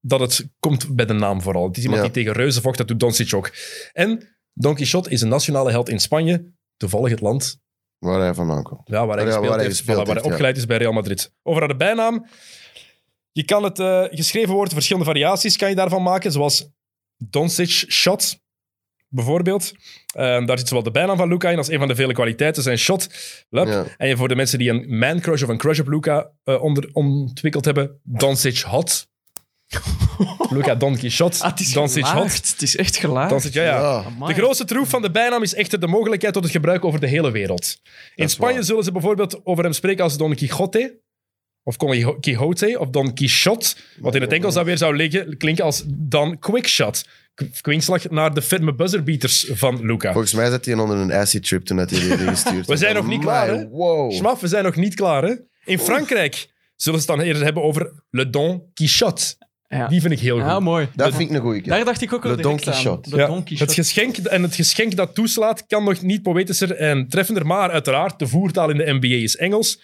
dat het komt bij de naam vooral. Het is iemand
Ja.
die tegen reuzen vocht, dat doet Doncic ook. En Don Quixote is een nationale held in Spanje, toevallig het land
Waar hij vandaan komt.
ja, waar hij
Ja,
gespeeld
waar hij
heeft,
gespeeld
voilà, waar
heeft,
hij
ja.
opgeleid is bij Real Madrid. Over naar de bijnaam. Je kan het eh, geschreven woord, verschillende variaties kan je daarvan maken, zoals Doncic shot, bijvoorbeeld. Eh, daar zit zowel de bijnaam van Luca in als een van de vele kwaliteiten, zijn shot. Lup.
Ja.
En je- voor de mensen die een man crush of een crush op Luca eh, onder, ontwikkeld hebben, Doncic hot. Luca Donkey shot,
Ah, het is
Doncic hot.
gelaagd. Het is echt gelaagd.
Doncic, ja, ja. De
Amai.
grootste troef van de bijnaam is echter de mogelijkheid tot het gebruik over de hele wereld. In
is
Spanje
waar.
zullen ze bijvoorbeeld over hem spreken als Don Quixote, of Don Quixote, of Don Quixote, wat in het Engels dan weer zou liggen, klinken als Dan Quickshot. K- Kwinkslag naar de ferme buzzerbeaters van Luca.
Volgens mij zat hij onder een acid trip toen dat hij die gestuurd
We zijn nog niet klaar, hè?
Amai, Wow.
Schmaf, we zijn nog niet klaar, hè? In Frankrijk zullen ze het dan eerder hebben over Le Don Quixote.
Ja.
Die vind ik heel goed.
Ja, mooi.
Dat vind ik een goeie.
Daar dacht ik ook wel
Le
direct
Don
aan.
Quixote.
De
Ja,
Don Quixote.
het geschenk en het geschenk dat toeslaat kan nog niet poëtischer en treffender, maar uiteraard, de voertaal in de NBA is Engels.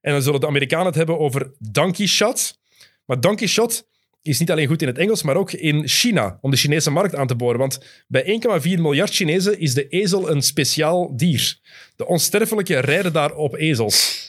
En dan zullen de Amerikanen het hebben over donkey shot. Maar donkey shot is niet alleen goed in het Engels, maar ook in China, om de Chinese markt aan te boren. Want bij 1,4 miljard Chinezen is de ezel een speciaal dier. De onsterfelijke rijden daar op ezels.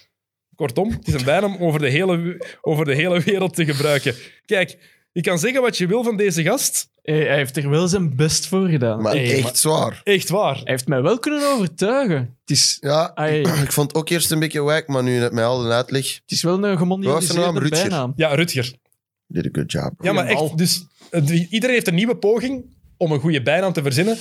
Kortom, het is een wijn om over de, hele, over de hele wereld te gebruiken. Kijk, je kan zeggen wat je wil van deze gast.
Hey, hij heeft er wel zijn best voor gedaan.
Maar
Hey,
echt
maar
zwaar.
Echt waar.
Hij heeft mij wel kunnen overtuigen. Het is,
Ja,
Ai.
ik vond het ook eerst een beetje wijk, maar nu met al de uitleg,
het is wel een
Wat was zijn
gemondialiseerde
naam? Rutger.
bijnaam.
Ja, Rutger.
did a good job.
Ja, maar
bal.
echt, dus, eh, die- iedereen heeft een nieuwe poging om een goede bijnaam te verzinnen.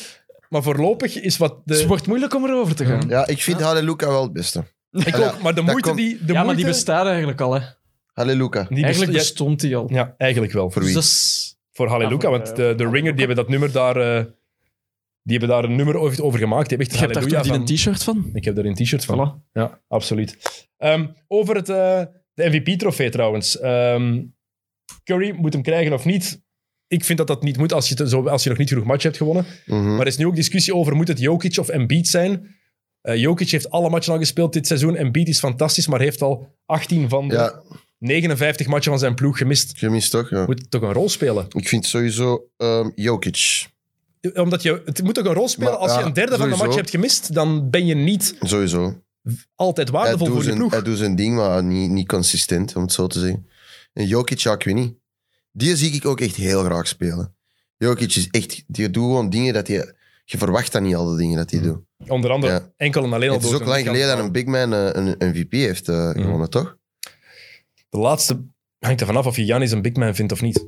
Maar voorlopig is wat de...
Het wordt moeilijk om erover te gaan.
Ja, ik vind Hadi Luca wel het beste.
Ik ook, maar de
dat
moeite
komt-
die... De
Ja, maar
moeite-
die bestaat eigenlijk al. Hè.
Hadi Luca.
die best-
eigenlijk
ja,
bestond die al.
ja, eigenlijk wel.
Voor wie?
Dus,
Voor Halleluja,
Ja, voor,
want
eh,
de, de Ringer, die hebben dat nummer daar... eh, die hebben daar een nummer over- over gemaakt. Die hebben
je
echt
hebt daar
Halleluja
toch die
van...
een t-shirt van?
Ik heb er een t-shirt van.
Voilà.
Ja, absoluut. Ehm, over het, eh, de MVP-trofee trouwens. Ehm, Curry moet hem krijgen of niet. Ik vind dat dat niet moet als je, te- zo, als je nog niet genoeg match hebt gewonnen.
Mhm.
Maar er is nu ook discussie over, moet het Jokic of Embiid zijn? Eh, Jokic heeft alle matchen al gespeeld dit seizoen. Embiid is fantastisch, maar heeft al 18 van de
Ja,
59 matchen van zijn ploeg gemist.
gemist toch? Ja.
Moet toch een rol spelen?
Ik vind sowieso ehm, Jokic.
Omdat je, het moet toch een rol spelen
Maar,
als je
ja,
een derde van de
sowieso.
match hebt gemist, dan ben je niet
Sowieso.
altijd
Hij
waardevol
doet
voor je
zijn-
ploeg.
Hij doet zijn ding, maar niet, niet consistent, om het zo te zeggen. En Jokic, ja, ik weet niet. Die zie ik ook echt heel graag spelen. Jokic is echt... Die doet gewoon dingen dat je... Je verwacht dat niet, al de dingen dat hij doet.
Onder andere
Ja.
enkel en alleen al
Het is
door
ook
zijn
lang geleden dat
lichaam.
een big man eh, een MVP heeft eh, gewonnen, toch?
De laatste hangt er vanaf of je Janis een big man vindt of niet.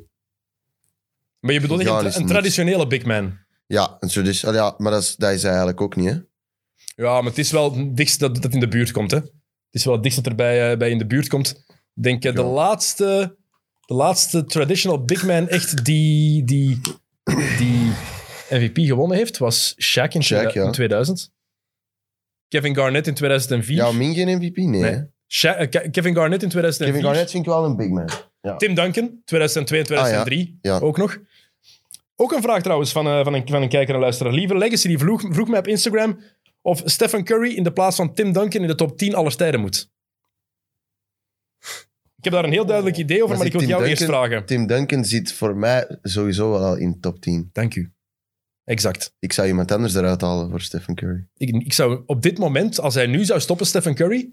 Maar je bedoelt echt een,
Giannis
een
niet.
traditionele big man.
Ja, en zo dus, al ja maar dat is, dat is hij eigenlijk ook niet, hè?
Ja, maar het is wel het dichtst dat dat in de buurt komt. Hè? Het is wel het dichtst dat er bij, eh, bij in de buurt komt. Ik denk eh, de,
Ja.
laatste, de laatste traditional big man echt die, die, die MVP gewonnen heeft, was Shaq in,
Shaq, ja.
in 2000. Kevin Garnett in 2004.
Jouw Ming geen MVP? Nee.
Nee.
hè?
Sha- eh, Ke- Kevin Garnett in 2004.
Kevin Garnett vind ik wel een big man.
Tim Duncan, 2002 en 2003
Ah, ja.
ook nog. Ook een vraag trouwens van, eh, van, een, van een kijker en luisteraar. Liever Legacy, die vroeg, vroeg mij op Instagram of Stephen Curry in de plaats van Tim Duncan in de top 10 aller tijden moet. Ik heb daar een heel duidelijk idee over, maar,
Maar
ik
zit
wil jou
Tim
eerst
Duncan-
vragen.
Tim Duncan zit voor mij sowieso wel al in de top 10.
Dank u. Exact.
Ik zou iemand anders eruit halen voor Stephen Curry.
Ik, ik zou op dit moment, als hij nu zou stoppen, Stephen Curry...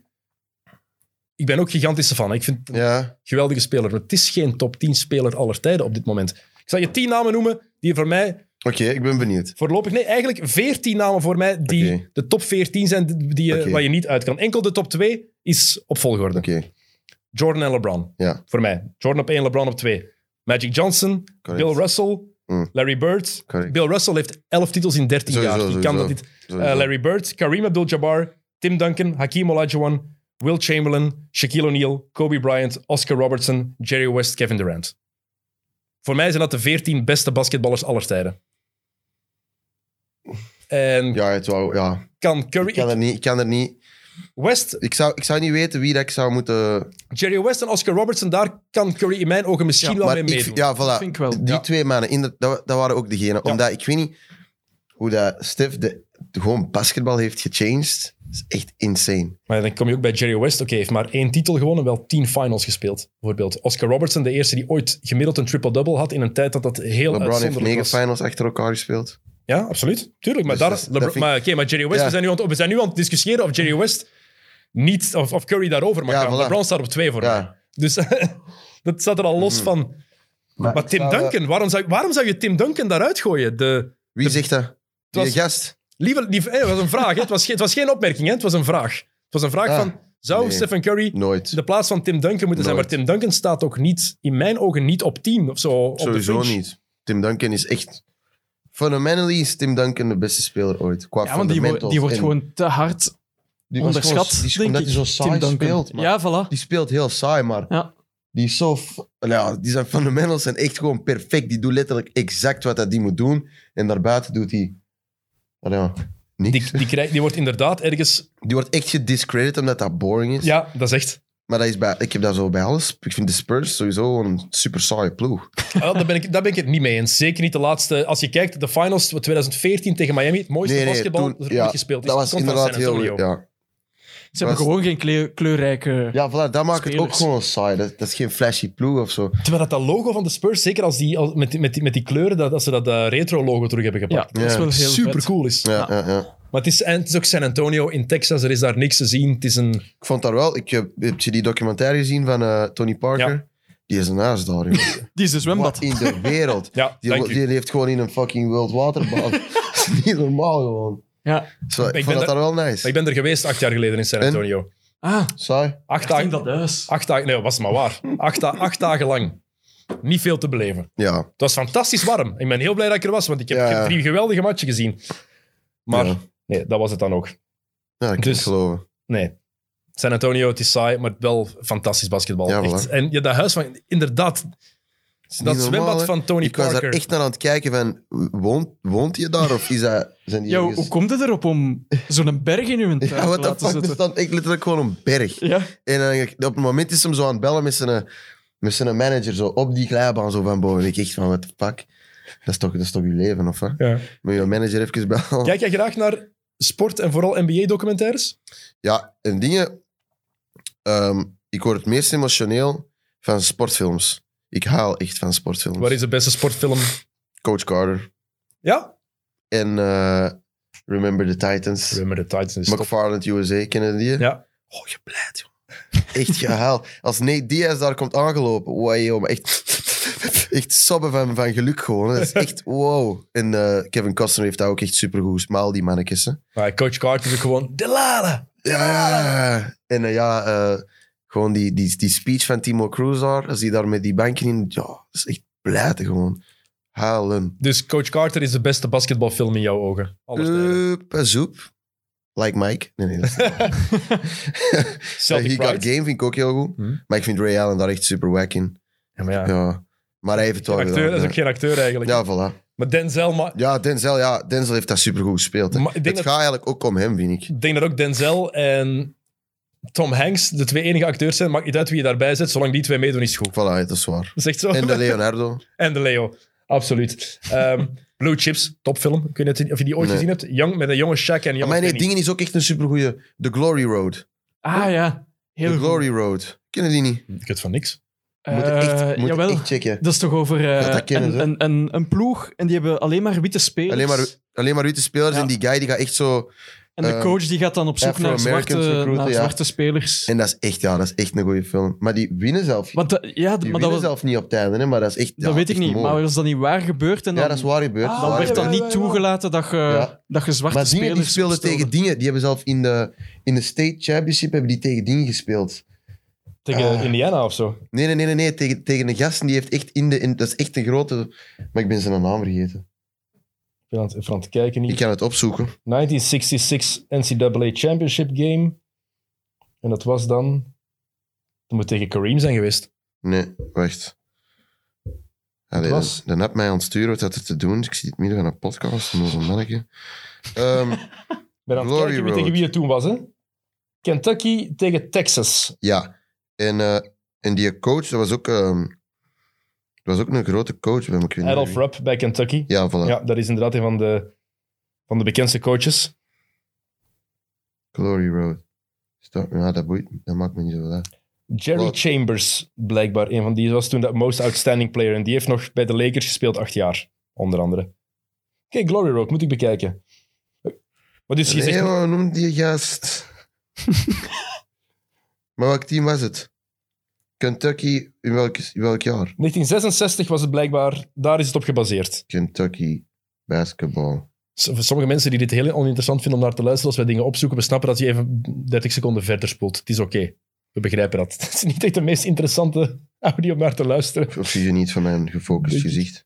Ik ben ook gigantische fan. hè. Ik vind het
Ja,
geweldige speler. Maar het is geen top 10 speler aller tijden op dit moment. Ik zal je 10 namen noemen die voor mij
oké, ik ben benieuwd.
voorlopig. Nee, eigenlijk 14 namen voor mij die
Oké.
de top 14 zijn die, die je-
Oké.
waar je niet uit kan. Enkel de top 2 is op volgorde.
Oké,
Jordan en LeBron.
Ja.
Voor mij. Jordan op 1, LeBron op 2. Magic Johnson,
Correct.
Bill Russell,
Mm.
Larry Bird.
Correct.
Bill Russell heeft 11 titels in 13
Sowieso,
jaar. Die kan dat
sowieso.
niet.
Sowieso.
Eh, Larry Bird, Kareem Abdul-Jabbar, Tim Duncan, Hakeem Olajuwon, Will Chamberlain, Shaquille O'Neal, Kobe Bryant, Oscar Robertson, Jerry West, Kevin Durant. Voor mij zijn dat de 14 beste basketballers aller tijden. En
ja, het wou, ja.
kan Curry...
Ik, kan er niet, ik kan er niet...
West,
Ik zou, ik zou niet weten wie dat ik zou moeten...
Jerry West en Oscar Robertson, daar kan Curry in mijn ogen misschien wel mee
ik,
meedoen.
ja, voilà.
vind ik wel.
Die
Ja.
twee mannen, inder- dat, dat waren ook degenen. Omdat ik weet niet hoe dat Stef de, de- gewoon basketbal heeft gechanged. Dat is echt insane.
Maar dan kom je ook bij Jerry West. Oké, heeft maar één titel gewonnen, wel tien finals gespeeld. Bijvoorbeeld Oscar Robertson, de eerste die ooit gemiddeld een triple-double had in een tijd dat dat heel
LeBron heeft
uitzonderlijk
negen
was.
finals achter elkaar gespeeld.
Ja, absoluut. Tuurlijk, maar,
Dus
daar,
dat-
LeBron-
dat vind ik-
maar, oké, maar Jerry West,
Ja.
we, zijn nu aan, het- we zijn nu aan het discussiëren of Jerry West niet, of, of Curry daarover mag
Ja,
gaan.
voilà.
LeBron staat op twee voor
Ja. Mhm.
mij. Dus dat staat er al los van. Maar,
ik
Tim
zou, eh,
Duncan, waarom zou, waarom zou je Tim Duncan daaruit gooien? De,
Wie zegt dat? Die
was-
gast?
liever, liever, eh, het was een vraag, hè. Het, was, ge- het was geen opmerking, hè. het was een vraag. Het was een vraag
Ah,
van, zou
nee.
Stephen Curry
Nooit.
de plaats van Tim Duncan moeten zijn? Maar Tim
Nooit.
Duncan staat ook niet, in mijn ogen, niet op 10 of zo. op de
Sowieso
fringe.
niet. Tim Duncan is echt... Fundamentally is Tim Duncan de beste speler ooit. Qua
Ja, want die, wo-
fundamentals.
die wordt
En
gewoon te hard
die was gewoon-
onderschat,
die is-
denk
omdat
ik.
hij zo saai
Tim Duncan.
speelt. man.
Ja, voilà.
Die speelt heel saai, maar
Ja.
die is zo... f- Ja, die zijn fundamentals zijn echt gewoon perfect. Die doet letterlijk exact wat dat die moet doen. En daarbuiten doet hij... Ah, Ja, niks.
Die,
Die,
die, krijgt, die wordt inderdaad ergens...
wordt echt gediscredit omdat dat boring is.
Ja, dat is echt...
Maar dat is bij, ik heb dat zo bij alles. Ik vind de Spurs sowieso gewoon een super saaie ploeg.
Ah, daar, ben ik, daar ben ik het niet mee eens. Zeker niet de laatste. Als je kijkt, de finals 2014 tegen Miami, het mooiste basketbal
toen-
dat er
ja,
ooit gespeeld is.
Dat was
Komt van
inderdaad
San
heel...
Antonio.
Ja.
Ze hebben
Was-
gewoon geen kleur- kleurrijke...
Ja, voilà, dat maakt het ook
Spelers.
gewoon saai. Dat, dat is geen flashy ploeg of zo.
Terwijl dat, dat logo van de Spurs, zeker als die, als, met, die- met, die, met die kleuren, dat, dat ze dat eh, retro-logo terug hebben
Ja,
gepakt.
dat is
Ja.
wel heel
Super
vet.
cool is.
Ja,
Ja.
ja. ja.
Maar het is, en het is ook San Antonio in Texas, er is daar niks te zien. Het is een,
Ik vond daar wel... Ik heb, heb je die documentaire gezien van eh, Tony Parker? Die is een aas daar, joh.
Die is een zwembad.
Wat in de wereld.
ja,
Die,
dank
wo-
u.
die leeft gewoon in een fucking World Waterbaan. dat is niet normaal, gewoon.
Ja.
Zo, ik,
ben
vond dat
daar-
daar wel
Maar
nice.
Ik ben er geweest acht jaar geleden in San
En?
Antonio.
Ah,
Saai?
Acht
ik denk
dagen,
dat huis.
acht dagen, nee, was maar waar. Acht, da- acht dagen lang. Niet veel te beleven.
Ja.
Het was fantastisch warm. Ik ben heel blij dat ik er was, want ik heb,
Ja,
ik heb
ja.
drie geweldige matchen gezien. Maar
Ja.
nee, dat was het dan ook.
Ja, ik kan
Dus-
het geloven.
Nee. San Antonio, het is saai, maar wel fantastisch basketbal.
Ja,
Echt.
voilà.
En ja, dat huis van... Inderdaad,
Het is
dat
niet normaal,
zwembad
hè.
van Tony
Ik was daar
Parker.
echt naar aan het kijken van... Woont, woont je daar of is dat... Zijn die
Ja, hoe-
ergens-
hoe komt het erop om zo'n berg in uw tuin
Ja,
te
wat de
laten
fuck? Er
zitten?
stond echt letterlijk gewoon een berg.
Ja.
En dan, op het moment is hem zo aan het bellen met zijn, eh, met zijn manager zo op die glijbaan zo van boven. Ik echt van, wat de fuck? Dat is toch, dat is toch je leven, of wat?
Ja.
Moet je je manager even bellen?
Kijk jij graag naar sport en vooral NBA-documentaires?
Ja, en dingen... ehm, ik word het meest emotioneel van sportfilms. Ik haal echt van sportfilms.
Waar is de beste sportfilm?
Coach Carter.
Ja?
En eh, Remember the Titans.
Remember the Titans is top.
McFarland USA, kennen die?
Ja.
Oh, je blijft, joh. Echt gehaald. Als Nate Diaz daar komt aangelopen, wow, joh, maar echt, echt sobben van, van geluk gewoon. hè. Dat is echt wow. En eh, Kevin Costner heeft daar ook echt supergoed gespeeld, maar al die mannetjes. Hè.
Maar Coach Carter is ook gewoon... Delala!
Ja, ja, ja. En eh, ja, eh, gewoon die, die, die speech van Timo Cruz daar, als hij daar met die banken in... Ja, dat is echt blijten gewoon. Halen.
Dus Coach Carter is de beste basketbalfilm in jouw ogen. Alles
Up, eh, zoep. Like Mike. Nee, nee, dat is
Celtic
He Got
Pride.
Game vind ik ook heel goed.
Hm.
Hmm. Maar ik vind Ray Allen daar echt super wack in.
Ja, maar ja.
Ja. Maar hij heeft het wel
Acteur,
gedaan.
dat is ook
ja.
geen acteur eigenlijk.
Ja, voilà.
Maar Denzel, maar
Ja, Denzel, ja, Denzel heeft dat supergoed gespeeld. Hè.
Maar ik
Het
denk
gaat
dat-
eigenlijk ook om hem, vind ik.
ik denk dat ook Denzel en Tom Hanks de twee enige acteurs zijn. Maakt niet uit wie je daarbij zit, zolang die twee meedoen is goed.
Voilà, dat is waar.
Dat is echt zo.
En de Leonardo.
En de Leo, absoluut. Ehm, Blue Chips, topfilm. Ik weet niet of je die ooit
Nee.
gezien hebt. Young, met een jonge Shaq en een jonge
maar nee,
Penny.
Dingen is ook echt een supergoeie. The Glory Road.
Ah ja,
The
heel goed.
Glory Road. Kennen die niet?
Ik weet van niks.
Moet je echt,
Eh,
moet je
jawel,
echt checken.
dat is toch over eh,
Ja, dat kennen
een,
ze.
een, een, een ploeg en die hebben alleen maar witte spelers.
Alleen maar, alleen maar witte spelers
Ja.
en die guy die gaat echt zo...
en de
eh,
coach die gaat dan op zoek naar
Afro-Americans
zwarte,
recruiten,
naar
ja.
zwarte spelers.
En dat is echt, ja, dat is echt een goede film. Maar die winnen zelf.
Want dat- ja,
die
maar dat,
winnen
was-
zelf niet op het einde, hè, maar dat is echt
dat
ja,
weet ik
echt
niet.
mooi.
Maar was dat niet waar gebeurd? En dan,
Ja, dat is waar gebeurd.
dan
waar
werd dat
gebeurd.
niet toegelaten dat je,
Ja.
dat je zwarte
Maar dingen
spelers
die speelden
opstelde.
tegen dingen. Die hebben zelf in de, in de state championship hebben die tegen dingen gespeeld.
Tegen
Ah.
Indiana of zo.
Nee, nee, nee, nee, nee. Tegen, tegen een gast en die heeft echt in de... in- dat is echt een grote... Maar ik ben zijn naam vergeten.
Ik ben aan het, even aan het kijken
Ik
niet.
kan het opzoeken.
1966 NCAA Championship Game. En dat was dan... Dat moet tegen Kareem zijn geweest.
Nee, wacht. Allee,
was-
Dan, dan heb mij aan het sturen wat dat er te doen is. Ik zit in het midden van een podcast, moet je merken. Ehm,
Ik ben aan het
Glory
kijken wie,
Road.
tegen wie het toen was, hè. Kentucky tegen Texas.
ja, en, eh, en die coach, dat was ook, ehm, dat was ook een grote coach bij me. Ik weet niet
Adolph
meer wie.
Rupp bij Kentucky.
Ja, voilà.
Ja, dat is inderdaad een van de, van de bekendste coaches.
Glory Road. Stop. Ja, dat boeit. me. Dat maakt me niet zoveel uit.
Jerry
Wat?
Chambers, blijkbaar een van die, was toen de most outstanding player. En die heeft nog bij de Lakers gespeeld acht jaar, onder andere. Kijk, Glory Road, moet ik bekijken. Maar dus je
Nee,
zegt,
man, noem die gast. maar welk team was het? Kentucky, in welk, in welk jaar?
1966 was het blijkbaar, daar is het op gebaseerd.
Kentucky basketball.
S- Voor sommige mensen die dit heel oninteressant vinden om naar te luisteren, als wij dingen opzoeken, we snappen dat je even 30 seconden verder spoelt. Het is oké. We begrijpen dat. Het is niet echt de meest interessante audio om naar te luisteren.
Of zie je niet van mijn gefocust
Beetje.
gezicht?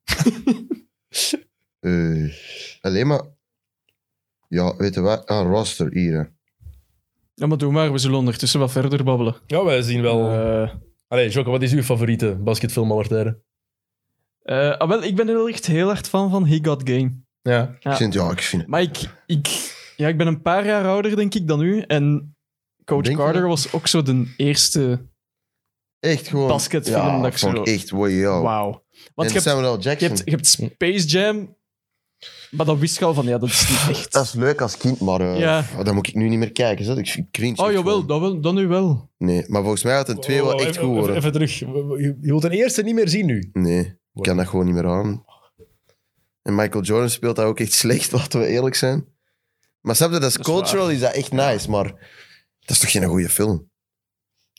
Eh, alleen maar... Ja, weet je wat? Ah, roster hier. hè.
Ja, maar doe maar. We zullen ondertussen wat verder babbelen.
Ja, wij zien wel...
Eh,
Allee, Jocke, wat is uw favoriete basketfilm aller tijden?
eh, ah, wel, ik ben er wel echt heel hard van, van He Got Game.
Ja.
Ja.
Ik vind, ja, ik vind...
Maar ik, ik, ja, ik ben een paar jaar ouder, denk ik, dan u. En Coach
Denk je
Carter
dat?
was ook zo de eerste.
Echt gewoon...
Basketfilm,
ja,
dat ik
vond
zo-
ik echt, wow.
Wauw. Want
Oh. en
je hebt,
Samuel L.
je,
Jackson.
hebt, je hebt Space Jam, maar dat wist je al van, ja, dat is niet
Dat
echt.
is leuk als kind, maar eh
Ja.
pff, dat moet ik nu niet meer kijken. Zo. Ik vind- cringe.
Oh
echt
jawel,
gewoon.
dat, wel, dat nu wel.
Nee, maar volgens mij had een twee wel
Oh,
echt
even-
goed
even,
worden.
even terug. Je je wilt een eerste niet meer zien nu.
Nee, ik kan dat gewoon niet meer aan. En Michael Jordan speelt dat ook echt slecht, laten we eerlijk zijn. Maar snap je, dat is
Dat is
cultural, is dat echt nice, maar... Dat is toch geen goede film?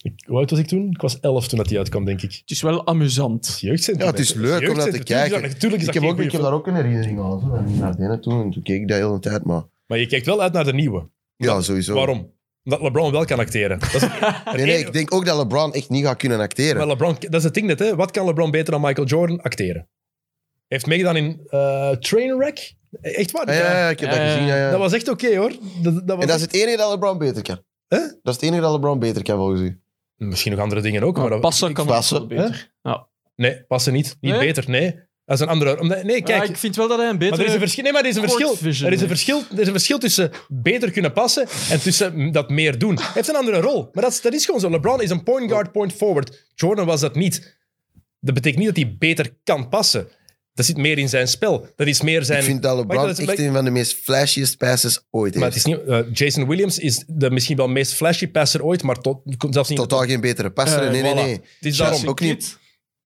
Ik, hoe oud was ik toen? Ik was elf toen dat die uitkwam, denk ik.
Het is wel amusant.
Jeugdcentrum.
Ja, het is leuk om naar te kijken.
Natuurlijk is dat
Ik
geen
heb, ook,
goeie
ik heb daar ook een herinnering aan. Zo. En naar binnen toen, en toen keek ik dat heel de tijd, maar...
film. Maar je kijkt wel uit naar de nieuwe.
Ja, sowieso.
Waarom? Omdat LeBron wel kan acteren. Dat is het
Nee, nee,
enige-
ik denk ook dat LeBron echt niet gaat kunnen acteren.
Maar LeBron, dat is het ding net, hè. Wat kan LeBron beter dan Michael Jordan? Acteren. Hij heeft meegedaan in eh, Trainwreck. Echt waar?
Ah, ja, ja, ik heb
Ja,
dat
ja,
gezien, ja, ja.
eh, Dat was echt oké, hoor. Dat, dat was
En dat is het enige dat LeBron beter kan.
Hè?
Dat is het enige dat LeBron beter kan, volgens u.
Misschien nog andere dingen ook. Maar dat-
Passen kan
passen,
ook wel beter.
Nee, passen niet. Niet
Nee?
beter, nee. Dat is een andere... Omdat, nee,
Kijk,
kijk.
ik vind wel dat hij een betere...
Maar er is een verschil. Nee, maar er is een
Court
verschil.
vision
Er is een
heeft.
verschil, er is een verschil tussen beter kunnen passen en tussen dat meer doen. Hij heeft een andere rol. Maar dat is, dat is gewoon zo. LeBron is een point guard, point forward. Jordan was dat niet. Dat betekent niet dat hij beter kan passen. Dat zit meer in zijn spel. Dat is meer zijn.
Ik vind dat
Maar
LeBron
dat is-
echt een van de meest flashiest passes ooit
maar
heeft.
het is niet, eh, Jason Williams is de misschien wel meest flashy passer ooit, maar tot, komt zelfs niet.
Totaal geen betere passer.
Eh,
nee, nee,
voilà.
nee.
Het is
Jason
daarom.
ook niet.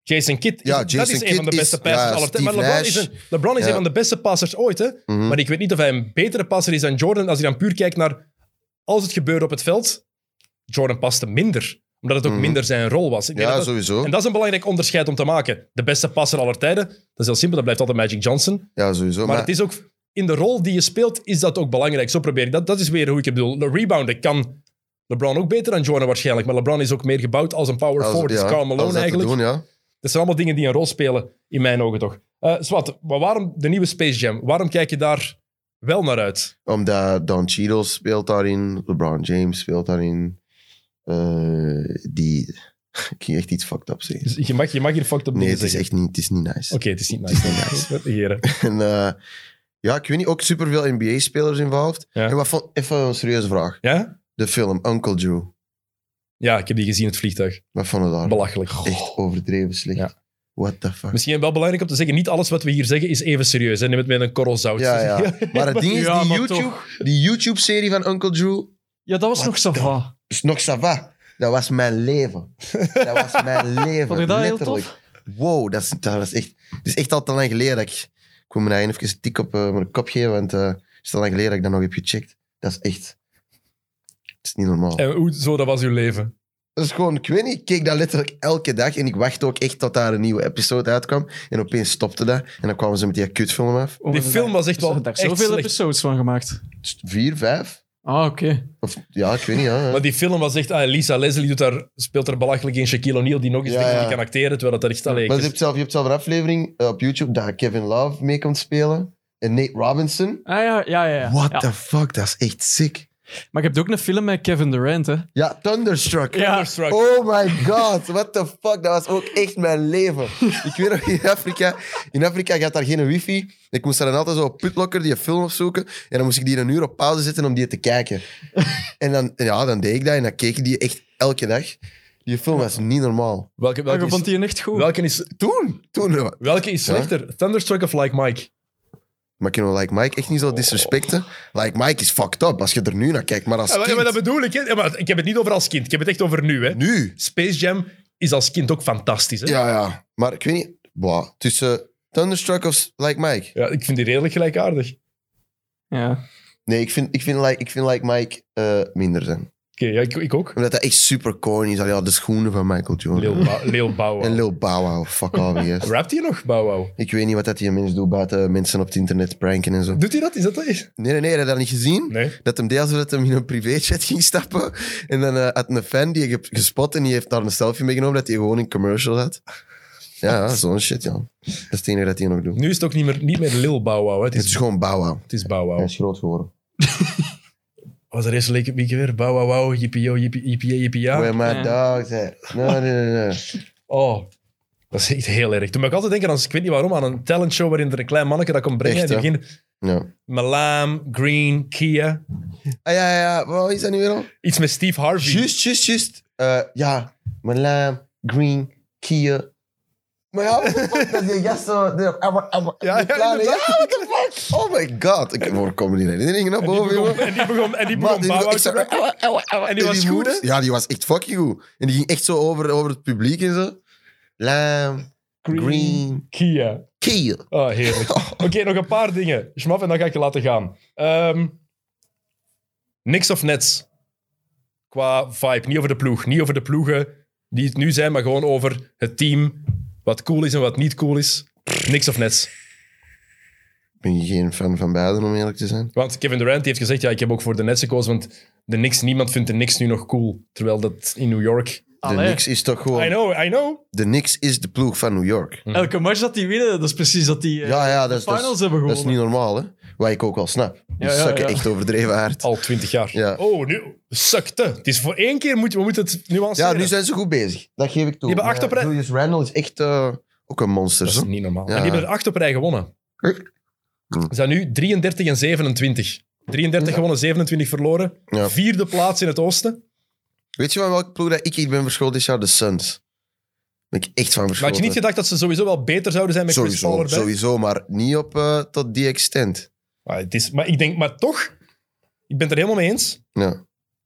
Jason Kidd, is-
Ja,
dat
Jason
is een
Kidd
van de
is-
beste passers
ja,
aller tijden. Maar
Steve
LeBron is,
Nash.
een, LeBron is
Ja.
een van de beste passers ooit. Hè?
Mhm.
Maar ik weet niet of hij een betere passer is dan Jordan. Als je dan puur kijkt naar als het gebeurde op het veld. Jordan paste minder. Omdat het ook
Mhm.
minder zijn rol was. Ik denk
Ja,
dat dat-
sowieso.
en dat is een belangrijk onderscheid om te maken. De beste passer aller tijden, dat is heel simpel, dat blijft altijd Magic Johnson. Maar,
Ja, sowieso. Maar,
het is ook, in de rol die je speelt, is dat ook belangrijk. Zo probeer ik dat. Dat is weer hoe ik het bedoel. De rebounden kan LeBron ook beter dan Jordan waarschijnlijk. Maar LeBron is ook meer gebouwd als een power
als-
forward.
ja,
is Karl
als dat
Malone
te
eigenlijk.
Doen, ja.
Dat zijn allemaal dingen die een rol spelen, in mijn ogen toch. Eh Swat, maar waarom de nieuwe Space Jam? Waarom kijk je daar wel naar uit?
Omdat Don Cheadle speelt daarin, LeBron James speelt daarin. Eh, die, Ik ging echt iets fucked up zeggen.
Dus je, mag, je mag hier fucked up
Nee,
dingen
het is
zeggen.
echt niet, het is niet nice.
Oké, het is niet nice. Het
niet nice. En, eh, ja, ik weet niet, ook superveel NBA-spelers involved.
Ja.
En wat vond, even een serieuze vraag.
Ja?
De film Uncle Drew,
Ja, ik heb die gezien in het vliegtuig.
wat vond je daar?
Belachelijk.
Echt overdreven slecht.
Oh. Ja.
What the fuck.
Misschien wel belangrijk om te zeggen, niet alles wat we hier zeggen is even serieus. Hè? Neem het met een korrel zout.
Ja, ja. Maar het ding is,
Ja,
die
maar
YouTube- die YouTube-serie van Uncle Drew
Ja, dat was nog zo va.
is nog sava. Dat was mijn leven. Dat was mijn leven.
Vond je dat heel
letterlijk.
tof?
Wow, dat is, dat is echt... Het is echt al te lang geleden dat ik... Ik moet me daar even een tik op eh, mijn kop geven, want eh, het is te lang geleden dat ik dat nog heb gecheckt. Dat is echt... Het is niet normaal.
En hoe, zo, dat was uw leven.
Dat is gewoon, ik weet niet, ik keek dat letterlijk elke dag en ik wachtte ook echt tot daar een nieuwe episode uitkwam. En opeens stopte dat en dan kwamen ze met die kutfilm af.
Die film was echt wel
Dus Er daar
echt
zoveel
slecht.
episodes van gemaakt.
Dus vier, vijf?
Ah, oké.
Of, ja, ik weet niet. Ja,
Maar die film was echt... Ah, Lisa Leslie doet daar, speelt er belachelijk in. Shaquille O'Neal, die nog eens
Ja,
denkt dat
ja.
hij kan acteren, terwijl dat er echt alleen
Maar je hebt zelf, je hebt zelf een aflevering eh, op YouTube dat Kevin Love mee komt spelen. En Nate Robinson.
Ah ja, ja, ja. ja.
What
Ja.
the fuck, dat is echt sick.
Maar je hebt ook een film met Kevin Durant, hè?
Ja, Thunderstruck.
Thunderstruck.
Oh my god, what the fuck. Dat was ook echt mijn leven. Ik weet nog, in Afrika, in Afrika gaat daar geen wifi. Ik moest daar dan altijd zo op putlokker die film opzoeken. En dan moest ik die een uur op pauze zetten om die te kijken. En dan, ja, dan deed ik dat en dan keek ik die echt elke dag. Die film was niet normaal.
Welke,
Maar
welke,
je vond
is,
die echt goed.
welke, is,
Toen? Toen. eh,
welke is slechter? Thunderstruck of Like Mike?
Maar kunnen we Like Mike echt niet zo disrespecten? Like Mike is fucked up als je er nu naar kijkt. Maar als
Ja, maar, ja, maar dat
kind-
bedoel ik. hè. Ja, maar ik heb het niet over als kind. Ik heb het echt over nu. Hè.
nu.
Space Jam is als kind ook fantastisch. Hè?
Ja, ja. Maar ik weet niet. Blah. Tussen Thunderstruck of Like Mike?
Ja, ik vind die redelijk gelijkaardig. Oké,
Ja.
Nee, ik vind, ik vind, like, ik vind like Mike eh, minder zijn.
ja, ik, ik ook.
Omdat dat echt super corny is. Al Ja, de schoenen van Michael Jordan.
Lil, ba Lil Bow Wow.
En Lil Bow Wow. Fuck off, yes.
Rapt hij nog, Bow Wow?
Ik weet niet wat dat die mens doet buiten mensen op het internet pranken en zo.
Doet hij dat? Is dat dat?
Nee, nee, nee. Heb je dat niet gezien?
Nee.
Dat hem deed alsof dat hem in een privéchat ging stappen. En dan eh, had een fan die ik heb gespot en die heeft daar een selfie meegenomen dat hij gewoon een commercial had. Ja, ja, zo'n shit, ja. Dat is het enige dat hij nog doet.
Nu is het ook niet meer, niet meer Lil Bow Wow. Hè. Het,
Het
is,
is gewoon bouwen.
het is Bow
Hij
Wow.
is groot geworden.
Was er eerst leek het weekend weer? Bow Wow Wow, yippie yo, yippie, yippie, yippie ja.
Where my
Ja.
dogs at? Nee, nee, nee, nee.
Oh, dat is echt heel erg. Toen ben ik altijd denken, aan, ik weet niet waarom, aan een talentshow waarin er een klein manneke dat komt brengen.
Echt,
en die
hè?
begint
Ja.
Malam, Green, Kia.
Ah, ja, ja, ja. Wat is dat nu weer al?
Iets met Steve Harvey.
Juist, juist, juist. Eh, ja, Malam, Green, Kia. Maar ja, what the fuck, dat eh, is die gast zo... die op- Ja,
Ja, ja,
ja,
inderdaad.
what the fuck? Oh my god. Ik word komen die herinneringen naar
Die
boven, Oh, jongen.
begon- En die begon, en die
Maar
begon
die
Bow
was
Wow
echt
te
zo-
rappen. En die was goed,
moeder-
hè?
Ja, die was echt fucking goed. En die ging echt zo over, over het publiek en zo. Lam, green,
Kia.
kill.
Oh, heerlijk. Oké, nog een paar dingen. Schmaf, en dan ga ik je laten gaan. Ehm, niks of nets. Qua vibe. Niet over de ploeg. Niet over de ploegen die het nu zijn, maar gewoon over het team. Wat cool is en wat niet cool is. Niks of nets.
Ik ben geen fan van beiden, om eerlijk te zijn.
Want Kevin Durant die heeft gezegd, ja, ik heb ook voor de nets gekozen, want de niks, niemand vindt de niks nu nog cool. Terwijl dat in New York...
De
Allee.
Knicks is toch
I
gewoon...
know, I know.
De Knicks is de ploeg van New York.
Hm.
Elke match dat die winnen, dat is precies dat die eh,
Ja, ja, dat is, dat,
finals
is,
hebben
dat
gewonnen.
is niet normaal, hè. Wat ik ook wel snap. Die
Ja, ja,
sukken
ja.
echt overdreven hard.
Al twintig jaar.
Ja.
Oh, nu... Sukte. Het is voor één keer, moet, we moeten het nuanceren.
Ja, nu zijn ze goed bezig. Dat geef ik
Die
toe.
hebben acht
Maar
op rij-
Julius Randle is echt eh, ook een monster.
Dat is
zo.
niet normaal.
Ja.
En die hebben er acht op rij gewonnen.
Hm.
Ze zijn nu 33 en 27. 33 gewonnen, 27 verloren.
Ja.
Vierde plaats in het oosten.
Weet je van welke ploeg dat ik hier ben verscholen dit jaar? De Suns. Ben ik echt van
Maar
verscholen.
had je niet gedacht dat ze sowieso wel beter zouden zijn met Chris Paul
sowieso,
erbij?
sowieso, maar niet op eh, tot die extent.
Maar, het is, maar ik denk, maar toch, ik ben het er helemaal mee eens.
Ja,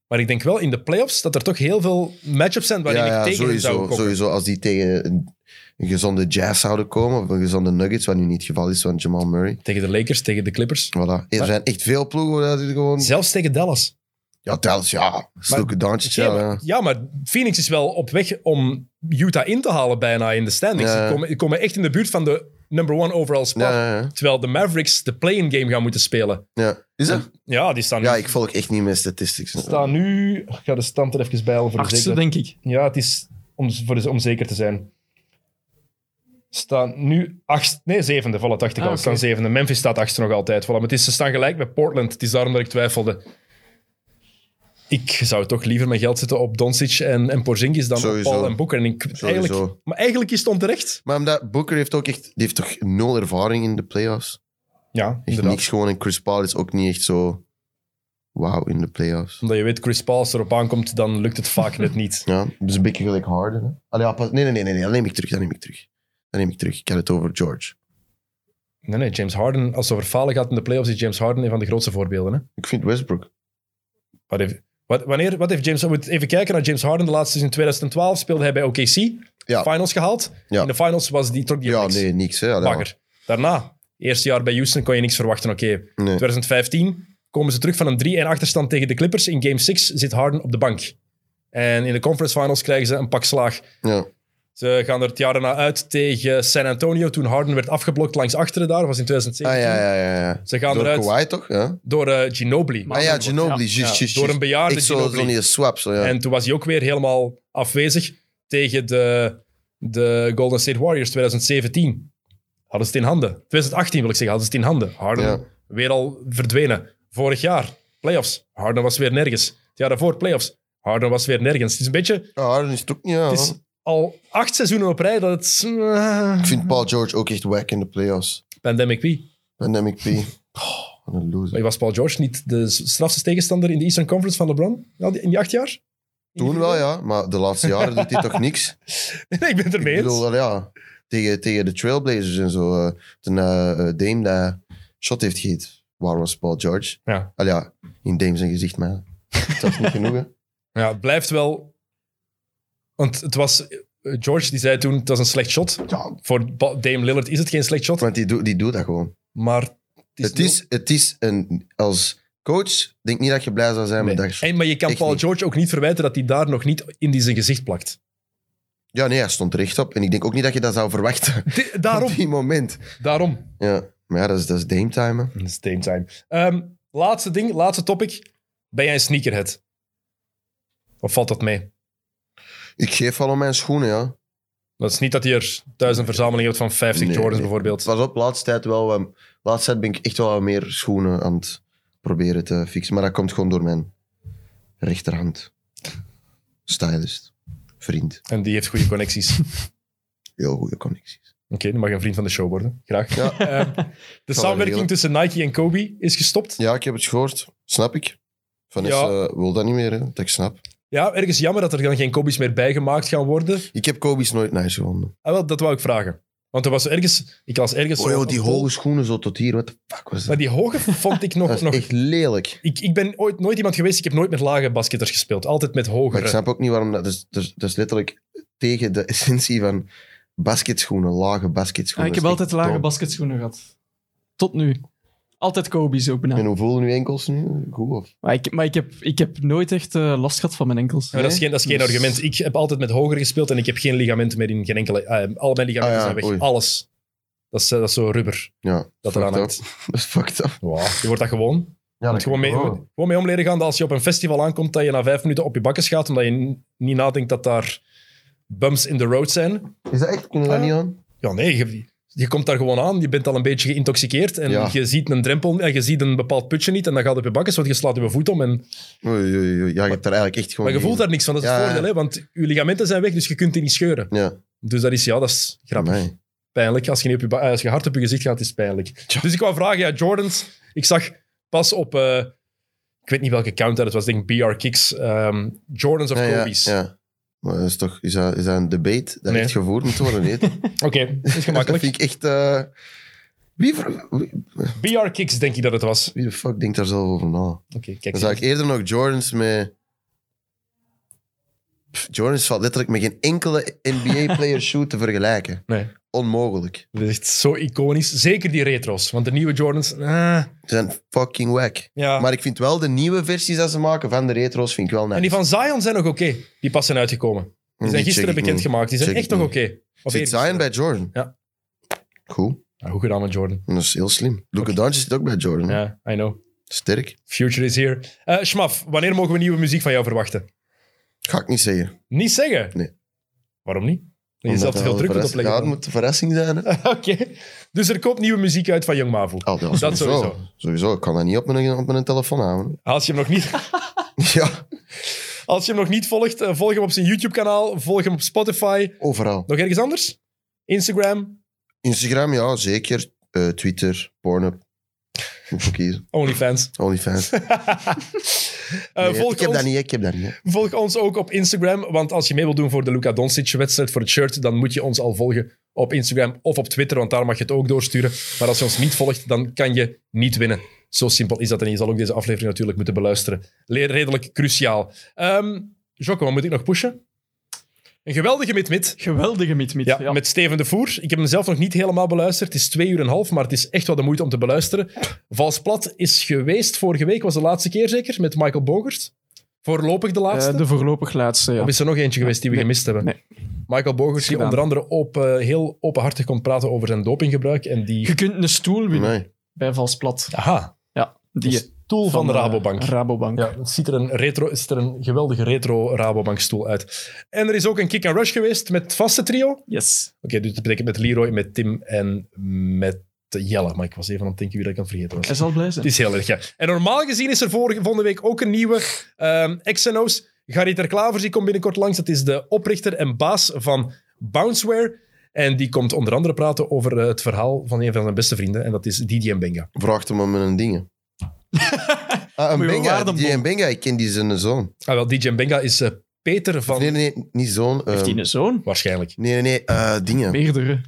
Maar ik denk wel in de playoffs dat er toch heel veel matchups zijn waarin
ja, ja,
ik tegen hen zou
sowieso,
komen.
sowieso. Als die tegen een, een gezonde Jazz zouden komen, of een gezonde Nuggets, wat nu niet het geval is van Jamal Murray.
Tegen de Lakers, tegen de Clippers.
Voilà. Er
Maar-
zijn echt veel ploegen dat die gewoon...
Zelfs tegen Dallas.
Ja, Dallas, ja. Zulke Doncic, ja.
maar-
ja.
ja, maar Phoenix is wel op weg om Utah in te halen bijna in de standings.
Ja.
Ze komen, die komen echt in de buurt van de number one overall spot.
Ja, ja, ja.
Terwijl de Mavericks de play-in game gaan moeten spelen.
ja. Is dat?
Ja, die staan nu...
Ja, ik volg echt niet mijn statistics.
staan nu... Ik ga de stand er even bij halen voor de
Achtste,
zekerheid.
denk ik.
Ja, het is om, voor de- om zeker te zijn. Staan nu acht... Nee, zevende. Voilà, dacht ik
Ah,
al.
oké.
Staan zevende. Memphis staat achtste nog altijd. Voilà, maar het is, ze staan gelijk met Portland. Het is daarom dat ik twijfelde. ik zou toch liever mijn geld zetten op Doncic en, en Porzingis dan
Sowieso.
op Paul en Boeker. En ik, eigenlijk, maar eigenlijk is het onterecht.
Maar omdat Booker heeft ook echt... Die heeft toch nul ervaring in de playoffs?
Ja,
Echt
inderdaad.
niks gewoon. En Chris Paul is ook niet echt zo... Wauw, in de playoffs.
Omdat je weet, Chris Paul, als erop aankomt, dan lukt het vaak net niet.
Ja, dus een beetje gelijk Harden. Hè? Allee, ja, pas- nee, nee, nee, nee, nee, dat neem ik terug. Dat neem ik terug. Dat neem ik terug. Ik had het over George.
Nee, nee, James Harden, als het over falen gaat in de playoffs, is James Harden een van de grootste voorbeelden. Hè?
Ik vind Westbrook.
Wat heeft, wat, wanneer, wat heeft James, we moeten even kijken naar James Harden. De laatste is in 2012, speelde hij bij OKC.
Ja.
Finals gehaald.
Ja.
In de finals was die, trok die
ja,
niks.
nee, niks. Hè? Allee,
Bagger. Daarna, eerste jaar bij Houston, kon je niks verwachten. Oké,
ja. Nee.
2015 komen ze terug van een 3-1 achterstand tegen de Clippers. In game 6 zit Harden op de bank. En in de conference finals krijgen ze een pak slaag.
Ja. Ah,
Ze gaan er het jaar daarna uit tegen San Antonio, toen Harden werd afgeblokt langs achteren daar, was in
Ah,
2017.
ja, ja, ja. ja.
Ze gaan
Door
eruit
Kawhi, toch? Ja.
door eh, Ginobili.
Ah ja, Ginobili.
Ja.
juist,
Ja,
juist,
door
juist.
een bejaarde
Ik zo,
Ginobili.
zo die swap, zo, ja.
En toen was hij ook weer helemaal afwezig tegen de, de Golden State Warriors 2017. Hadden ze het in handen. 2018 wil ik zeggen, hadden ze het in handen. Harden
Ja.
weer al verdwenen. Vorig jaar, playoffs. Harden was weer nergens. Het jaar daarvoor, playoffs. Harden was weer nergens. Het is een beetje...
Ja, Harden is het ook niet, ja.
Het is al acht seizoenen op rij dat het... Ah.
Ik vind Paul George ook echt wack in de playoffs.
Pandemic wie?
Pandemic P. Oh, wat een loser.
Maar was Paul George niet de strafste tegenstander in de Eastern Conference van LeBron? Ja, die- In die acht jaar?
Toen wel, ja. Maar de laatste jaren doet hij toch niks.
Nee, ik ben het ermee
Ik
eens.
bedoel, ja, tegen, tegen de Trailblazers en zo. eh, toen eh, eh, Dame dat shot heeft gegeven. Waar was Paul George?
Ja.
Al ja, in Dame zijn gezicht, maar dat is niet genoeg. hè.
Ja, het blijft wel. Want het was. George die zei toen: het was een slecht shot.
Ja,
Voor Ba- Dame Lillard is het geen slecht shot.
want die, doet- die doet dat gewoon.
Maar het is.
Het is, het is een, als coach, denk niet dat je blij zou zijn
Nee.
met dat shot.
en, maar je kan
Echt
Paul
niet.
George ook niet verwijten dat hij daar nog niet in die zijn gezicht plakt.
Ja, nee, hij stond recht op. En ik denk ook niet dat je dat zou verwachten.
Di-
Op
daarom.
die moment.
daarom.
Ja, maar ja, dat is, dat is Dame time. hè.
Dat is Dame time. Ehm, laatste ding, laatste topic. Ben jij een sneakerhead? Of valt dat mee?
Ik geef al om mijn schoenen, ja.
Dat is niet dat je er duizend verzameling hebt van 50
Nee,
Jordans
nee.
bijvoorbeeld.
Pas op, laatste tijd wel. wat- laatste tijd ben ik echt wel wat meer schoenen aan het proberen te fixen. Maar dat komt gewoon door mijn rechterhand. Stylist. Vriend.
En die heeft goede connecties. Oké,
Heel goede connecties.
dan mag je een vriend van de show worden. Graag.
Ja.
Ehm, de samenwerking
regelen.
tussen Nike en Kobe is gestopt.
Ja, ik heb het gehoord. Snap ik. Vanessa eh, wil dat niet meer, hè? dat ik snap.
Ja, ergens jammer dat er dan geen Kobe's meer bijgemaakt gaan worden.
Ik heb Kobe's nooit nice gevonden.
Ah, wel, dat wou ik vragen. Want er was ergens... Ik las ergens...
Oh,
zo-
joh, die hoge schoenen zo tot hier. Wat de fuck was
Maar
dat?
die hoge vond ik
Dat
nog...
is
nog
echt lelijk.
ik, ik ben ooit nooit iemand geweest... Ik heb nooit met lage basketters gespeeld. Altijd met
Maar ik
hogere.
snap ook niet waarom dat... Dat is, dat is, dat is letterlijk tegen de essentie van basketschoenen. Lage
Ja,
basketschoenen.
Ah, ik heb
Dat is
altijd
echt
lage
dom.
basketschoenen gehad. Tot nu. Altijd Kobe's ook
En
Ah.
benaderd.
hoe voelen uw enkels nu? Goed of?
Maar, ik, maar ik, heb, ik heb nooit echt eh, last gehad van mijn enkels.
Maar dat is geen, dat is geen
Dus-
argument. Ik heb altijd met hoger gespeeld en ik heb geen ligamenten meer in geen enkele... eh, al mijn ligamenten
Ah, ja,
zijn weg.
oei.
Alles. Dat is, eh, dat is zo rubber
Ja,
dat eraan
fucked up.
hangt.
Dat is fucked up.
Wow. Je wordt dat gewoon.
Ja, Oh.
Moet gewoon mee, gewoon mee om leren gaan dat als je op een festival aankomt, dat je na vijf minuten op je bakkes gaat, omdat je n- niet nadenkt dat daar bumps in the road zijn.
Is dat echt? Kunnen we
Ah,
dat niet aan?
Ja, nee, je, je komt daar gewoon aan, je bent al een beetje geïntoxiceerd en
Ja.
je ziet een drempel en je ziet een bepaald putje niet en dan gaat het op je bakkes, want je slaat je voet om. En,
Oei, oei, oei. Ja, je hebt er eigenlijk echt gewoon...
maar je voelt
geen-
daar niks van, dat is
Ja,
het
ja.
voordeel, hè, want je ligamenten zijn weg, dus je kunt die niet scheuren.
Ja,
Dus dat is, ja, dat is grappig.
amai.
Pijnlijk. Als je, niet op je, ba- eh, als je hard op je gezicht gaat, is het pijnlijk. Dus ik wou vragen, ja, Jordans, ik zag pas op... eh, ik weet niet welke counter het was, denk ik BR Kicks. ehm, Jordans of
Ja, ja,
Kobe's.
ja. Maar dat is toch... Is dat, is dat een debate dat
Nee.
echt gevoerd moet worden? Nee.
Oké, dat is
dat
gemakkelijk.
vind ik echt... eh, Wie, ver- wie,
BR Kicks denk ik dat het was.
wie de fuck denkt daar zelf over na?
Oké, kijk.
Dan zou ik eerder nog Jordans met... Pff, Jordans valt letterlijk met geen enkele NBA-player shoe te vergelijken.
Nee,
Onmogelijk.
dat is echt zo iconisch. Zeker die retro's, want de nieuwe Jordans... ah,
Ze zijn fucking wack.
ja.
Maar ik vind wel de nieuwe versies dat ze maken van de retro's vind ik wel nice.
En die van Zion zijn nog oké. Die pas zijn uitgekomen. Die zijn
check
gisteren
Mm, ik niet.
bekendgemaakt. Die zijn
Check
echt
ik
nog
niet.
oké. Of
Zit
eerder.
Zion bij Jordan?
Ja.
Cool.
Ja, goed gedaan met Jordan.
Dat is heel slim. Luka Doncic zit ook bij Jordan. hè?
Ja, I know.
Sterk.
Future is here. Eh Schmaf, wanneer mogen we nieuwe muziek van jou verwachten?
Ga ik niet zeggen.
Niet zeggen.
Nee.
Waarom niet? Je
Omdat
zelf te
dat
veel
wel
druk moet
verrassing-
opleggen. dan.
Ja, het moet een verrassing zijn. Hè?
Oké. Dus er komt nieuwe muziek uit van Young Mavo.
Ah,
Dat
dat sowieso.
sowieso.
sowieso. Ik kan dat niet op mijn, op mijn telefoon houden.
Als je hem nog niet...
Ja,
Als je hem nog niet volgt, eh, volg hem op zijn YouTube-kanaal, volg hem op Spotify.
overal.
Nog ergens anders? Instagram,
Instagram, ja, zeker. Eh, Twitter, Pornhub. Moet ik kiezen.
OnlyFans.
OnlyFans. Nee,
Eh, volg,
ik heb
ons,
dat niet, ik heb dat niet. hè.
volg ons ook op Instagram, want als je mee wilt doen voor de Luka Doncic-wedstrijd, voor het shirt, dan moet je ons al volgen op Instagram of op Twitter, want daar mag je het ook doorsturen. Maar als je ons niet volgt, dan kan je niet winnen. Zo simpel is dat. En je zal ook deze aflevering natuurlijk moeten beluisteren. Le- Redelijk cruciaal. Ehm Jocko, wat moet ik nog pushen? Een geweldige mid-mid.
Geweldige miet-miet.
Ja, met Steven de Voer. Ik heb hem zelf nog niet helemaal beluisterd. Het is twee uur en een half, maar het is echt wel de moeite om te beluisteren. Vals Plat is geweest vorige week, was de laatste keer zeker, met Michael Bogert. Voorlopig Eh, de laatste.
de voorlopig laatste, ja.
Of is er nog eentje geweest die we
Nee,
gemist hebben?
nee.
Michael Bogert, die
gedaan.
onder andere op, eh, heel openhartig kon praten over zijn dopinggebruik. En die...
Je kunt een stoel winnen
Nee.
bij Valsplat.
Aha,
Ja, die
de stoel van, de
eh,
Rabobank.
Rabobank.
Ja, het ziet er een, retro, het ziet er een geweldige retro Rabobankstoel uit. En er is ook een kick-and-rush geweest met het vaste trio.
Yes.
Oké, dus dat betekent met Leroy, met Tim en met Jelle. Maar ik was even aan het denken wie dat ik aan het vergeten was.
Hij zal blij
Het
zijn.
is heel erg, ja. En normaal gezien is er vorige, volgende week ook een nieuwe ehm XNO's. Gary Ter Klavers, die komt binnenkort langs. Dat is de oprichter en baas van Bounceware. En die komt onder andere praten over eh, het verhaal van een van zijn beste vrienden. En dat is Didier Benga.
Vraagt hem om een dingen. Ah, een
Moet je wel
Benga, die
waarden boeken.
een Benga, ik ken die zijn zoon.
Ah, wel, Didier Benga is eh, Peter van...
Nee, nee, nee, niet zoon. eh,
Heeft hij een zoon?
Waarschijnlijk.
Nee, nee, nee, eh, dingen.
Meerdere.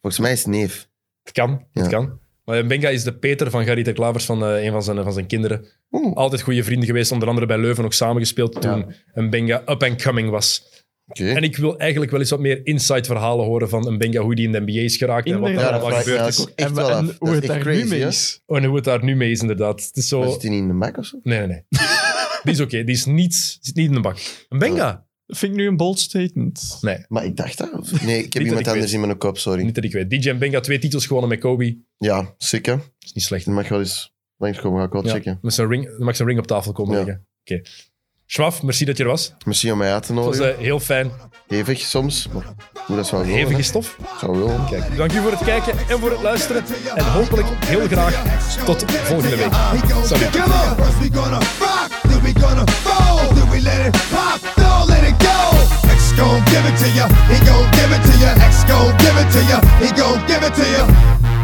Volgens mij is het neef.
Het kan, het
Ja.
kan. Maar Benga is de Peter van Garita Klavers, van eh, een van zijn, van zijn kinderen.
Oeh.
Altijd goede vrienden geweest, onder andere bij Leuven ook samengespeeld toen een Benga up and coming was.
Oké.
En ik wil eigenlijk wel eens wat meer inside verhalen horen van een Benga, hoe die in de NBA is geraakt en wat
Inderdaad.
Ja,
daar
dat
allemaal
vraagt mij
gebeurd is.
eigenlijk echt wel af.
en hoe
Dat
het
is echt
daar nu
crazy,
mee
hè?
is.
En hoe het daar nu mee is, inderdaad. Het is zo...
Was het niet in de Mac of zo?
Nee, nee, nee. die is oké, die is niet, zit niet in de bak. Een Benga?
Dat vind ik nu een bold statement.
Nee,
Maar ik dacht dat. of- Nee, ik
dat
heb
ik
iemand anders
weet.
in mijn kop, sorry.
niet dat ik weet. DJ en Benga, twee titels gewonnen met Kobe.
Ja, sick hè.
is niet slecht.
Die mag wel eens langskomen, ga ik wel
Ja.
checken.
Met zijn ring, mag zijn ring op tafel komen
Ja.
liggen. Oké. Schwaf, merci dat je er was.
Misschien om mij uit te
Het was
nodigen.
eh, heel fijn.
Hevig soms, maar hoe dat zou willen.
Hevige
hè.
stof.
Zou willen.
Dank u voor het kijken en voor het luisteren. En hopelijk heel graag tot volgende week. Salut.
Come on. First we gonna rock, then we gonna fold, then we let it pop, don't let it go. X gon' give it to ya, he gon' give it to ya. X gon' give it to ya, he gon' give it to ya.